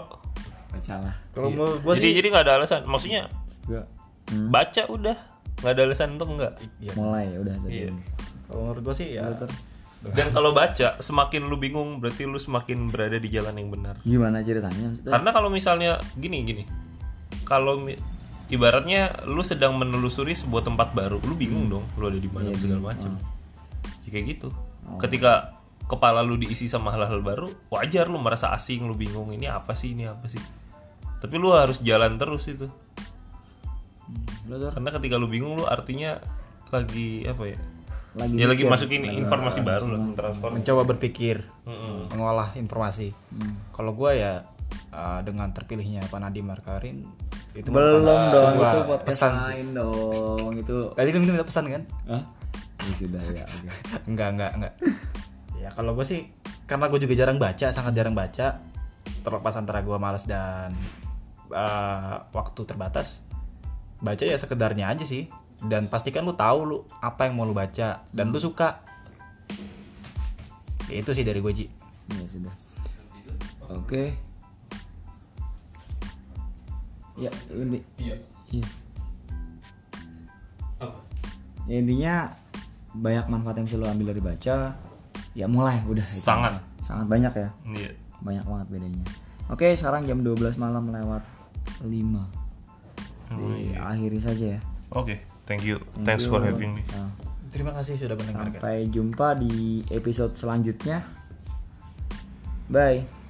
Speaker 2: salah.
Speaker 5: Kalau menurut gue
Speaker 1: Jadi jadi nggak ada alasan. Maksudnya
Speaker 2: Gua
Speaker 1: baca udah nggak ada alasan untuk enggak.
Speaker 2: mulai ya udah tadi.
Speaker 5: kalau menurut gue sih ya.
Speaker 2: Iya,
Speaker 1: Dan kalau baca semakin lu bingung berarti lu semakin berada di jalan yang benar.
Speaker 2: Gimana ceritanya? Maksudnya,
Speaker 1: Karena kalau misalnya gini gini. Kalau mi- ibaratnya lu sedang menelusuri sebuah tempat baru, lu bingung dong, lu ada di mana segala macam. Ya, kayak gitu. Ketika kepala lu diisi sama hal-hal baru, wajar lu merasa asing, lu bingung ini apa sih, ini apa sih. Tapi lu harus jalan terus itu.
Speaker 2: lu Tur,
Speaker 1: Karena ketika lu bingung lu artinya lagi apa ya?
Speaker 2: lagi
Speaker 1: ya lagi
Speaker 2: mikir.
Speaker 1: masukin informasi baru lah, transform.
Speaker 5: mencoba berpikir
Speaker 2: Hmm.
Speaker 5: ah, mengolah informasi kalau gue ya uh, dengan terpilihnya Pak Nadiem Markarin
Speaker 3: Itu
Speaker 2: Belum
Speaker 3: merupakan
Speaker 2: dong,
Speaker 3: sebuah
Speaker 2: itu podcast
Speaker 3: pesan.
Speaker 2: lain dong. Itu
Speaker 3: Tadi lu minta pesan kan?
Speaker 2: Hah? Ya sudah ya, oke.
Speaker 3: Enggak, enggak, enggak. ya kalau gue sih karena gue juga jarang baca, sangat jarang baca. Terlepas antara gue malas dan eh, waktu terbatas, baca ya sekedarnya aja sih. Dan pastikan lu tahu lu apa yang mau lu baca dan lu suka. Ya, itu sih dari gue Ji.
Speaker 2: Ya sudah. Oke. Ya, ini. Iya. Iya. Ya, intinya banyak manfaat yang bisa lo ambil dari baca. Ya mulai udah. itu.
Speaker 1: Sangat.
Speaker 2: Sangat banyak ya.
Speaker 1: Iya.
Speaker 2: Banyak banget bedanya. Oke, sekarang jam 12 malam lewat 5. Akhiri saja ya.
Speaker 1: Oke, thank you. Oh, iya. Thanks for having me.
Speaker 2: Nah,
Speaker 3: Terima kasih sudah mendengarkan.
Speaker 2: sampai jumpa di episode selanjutnya. Bye.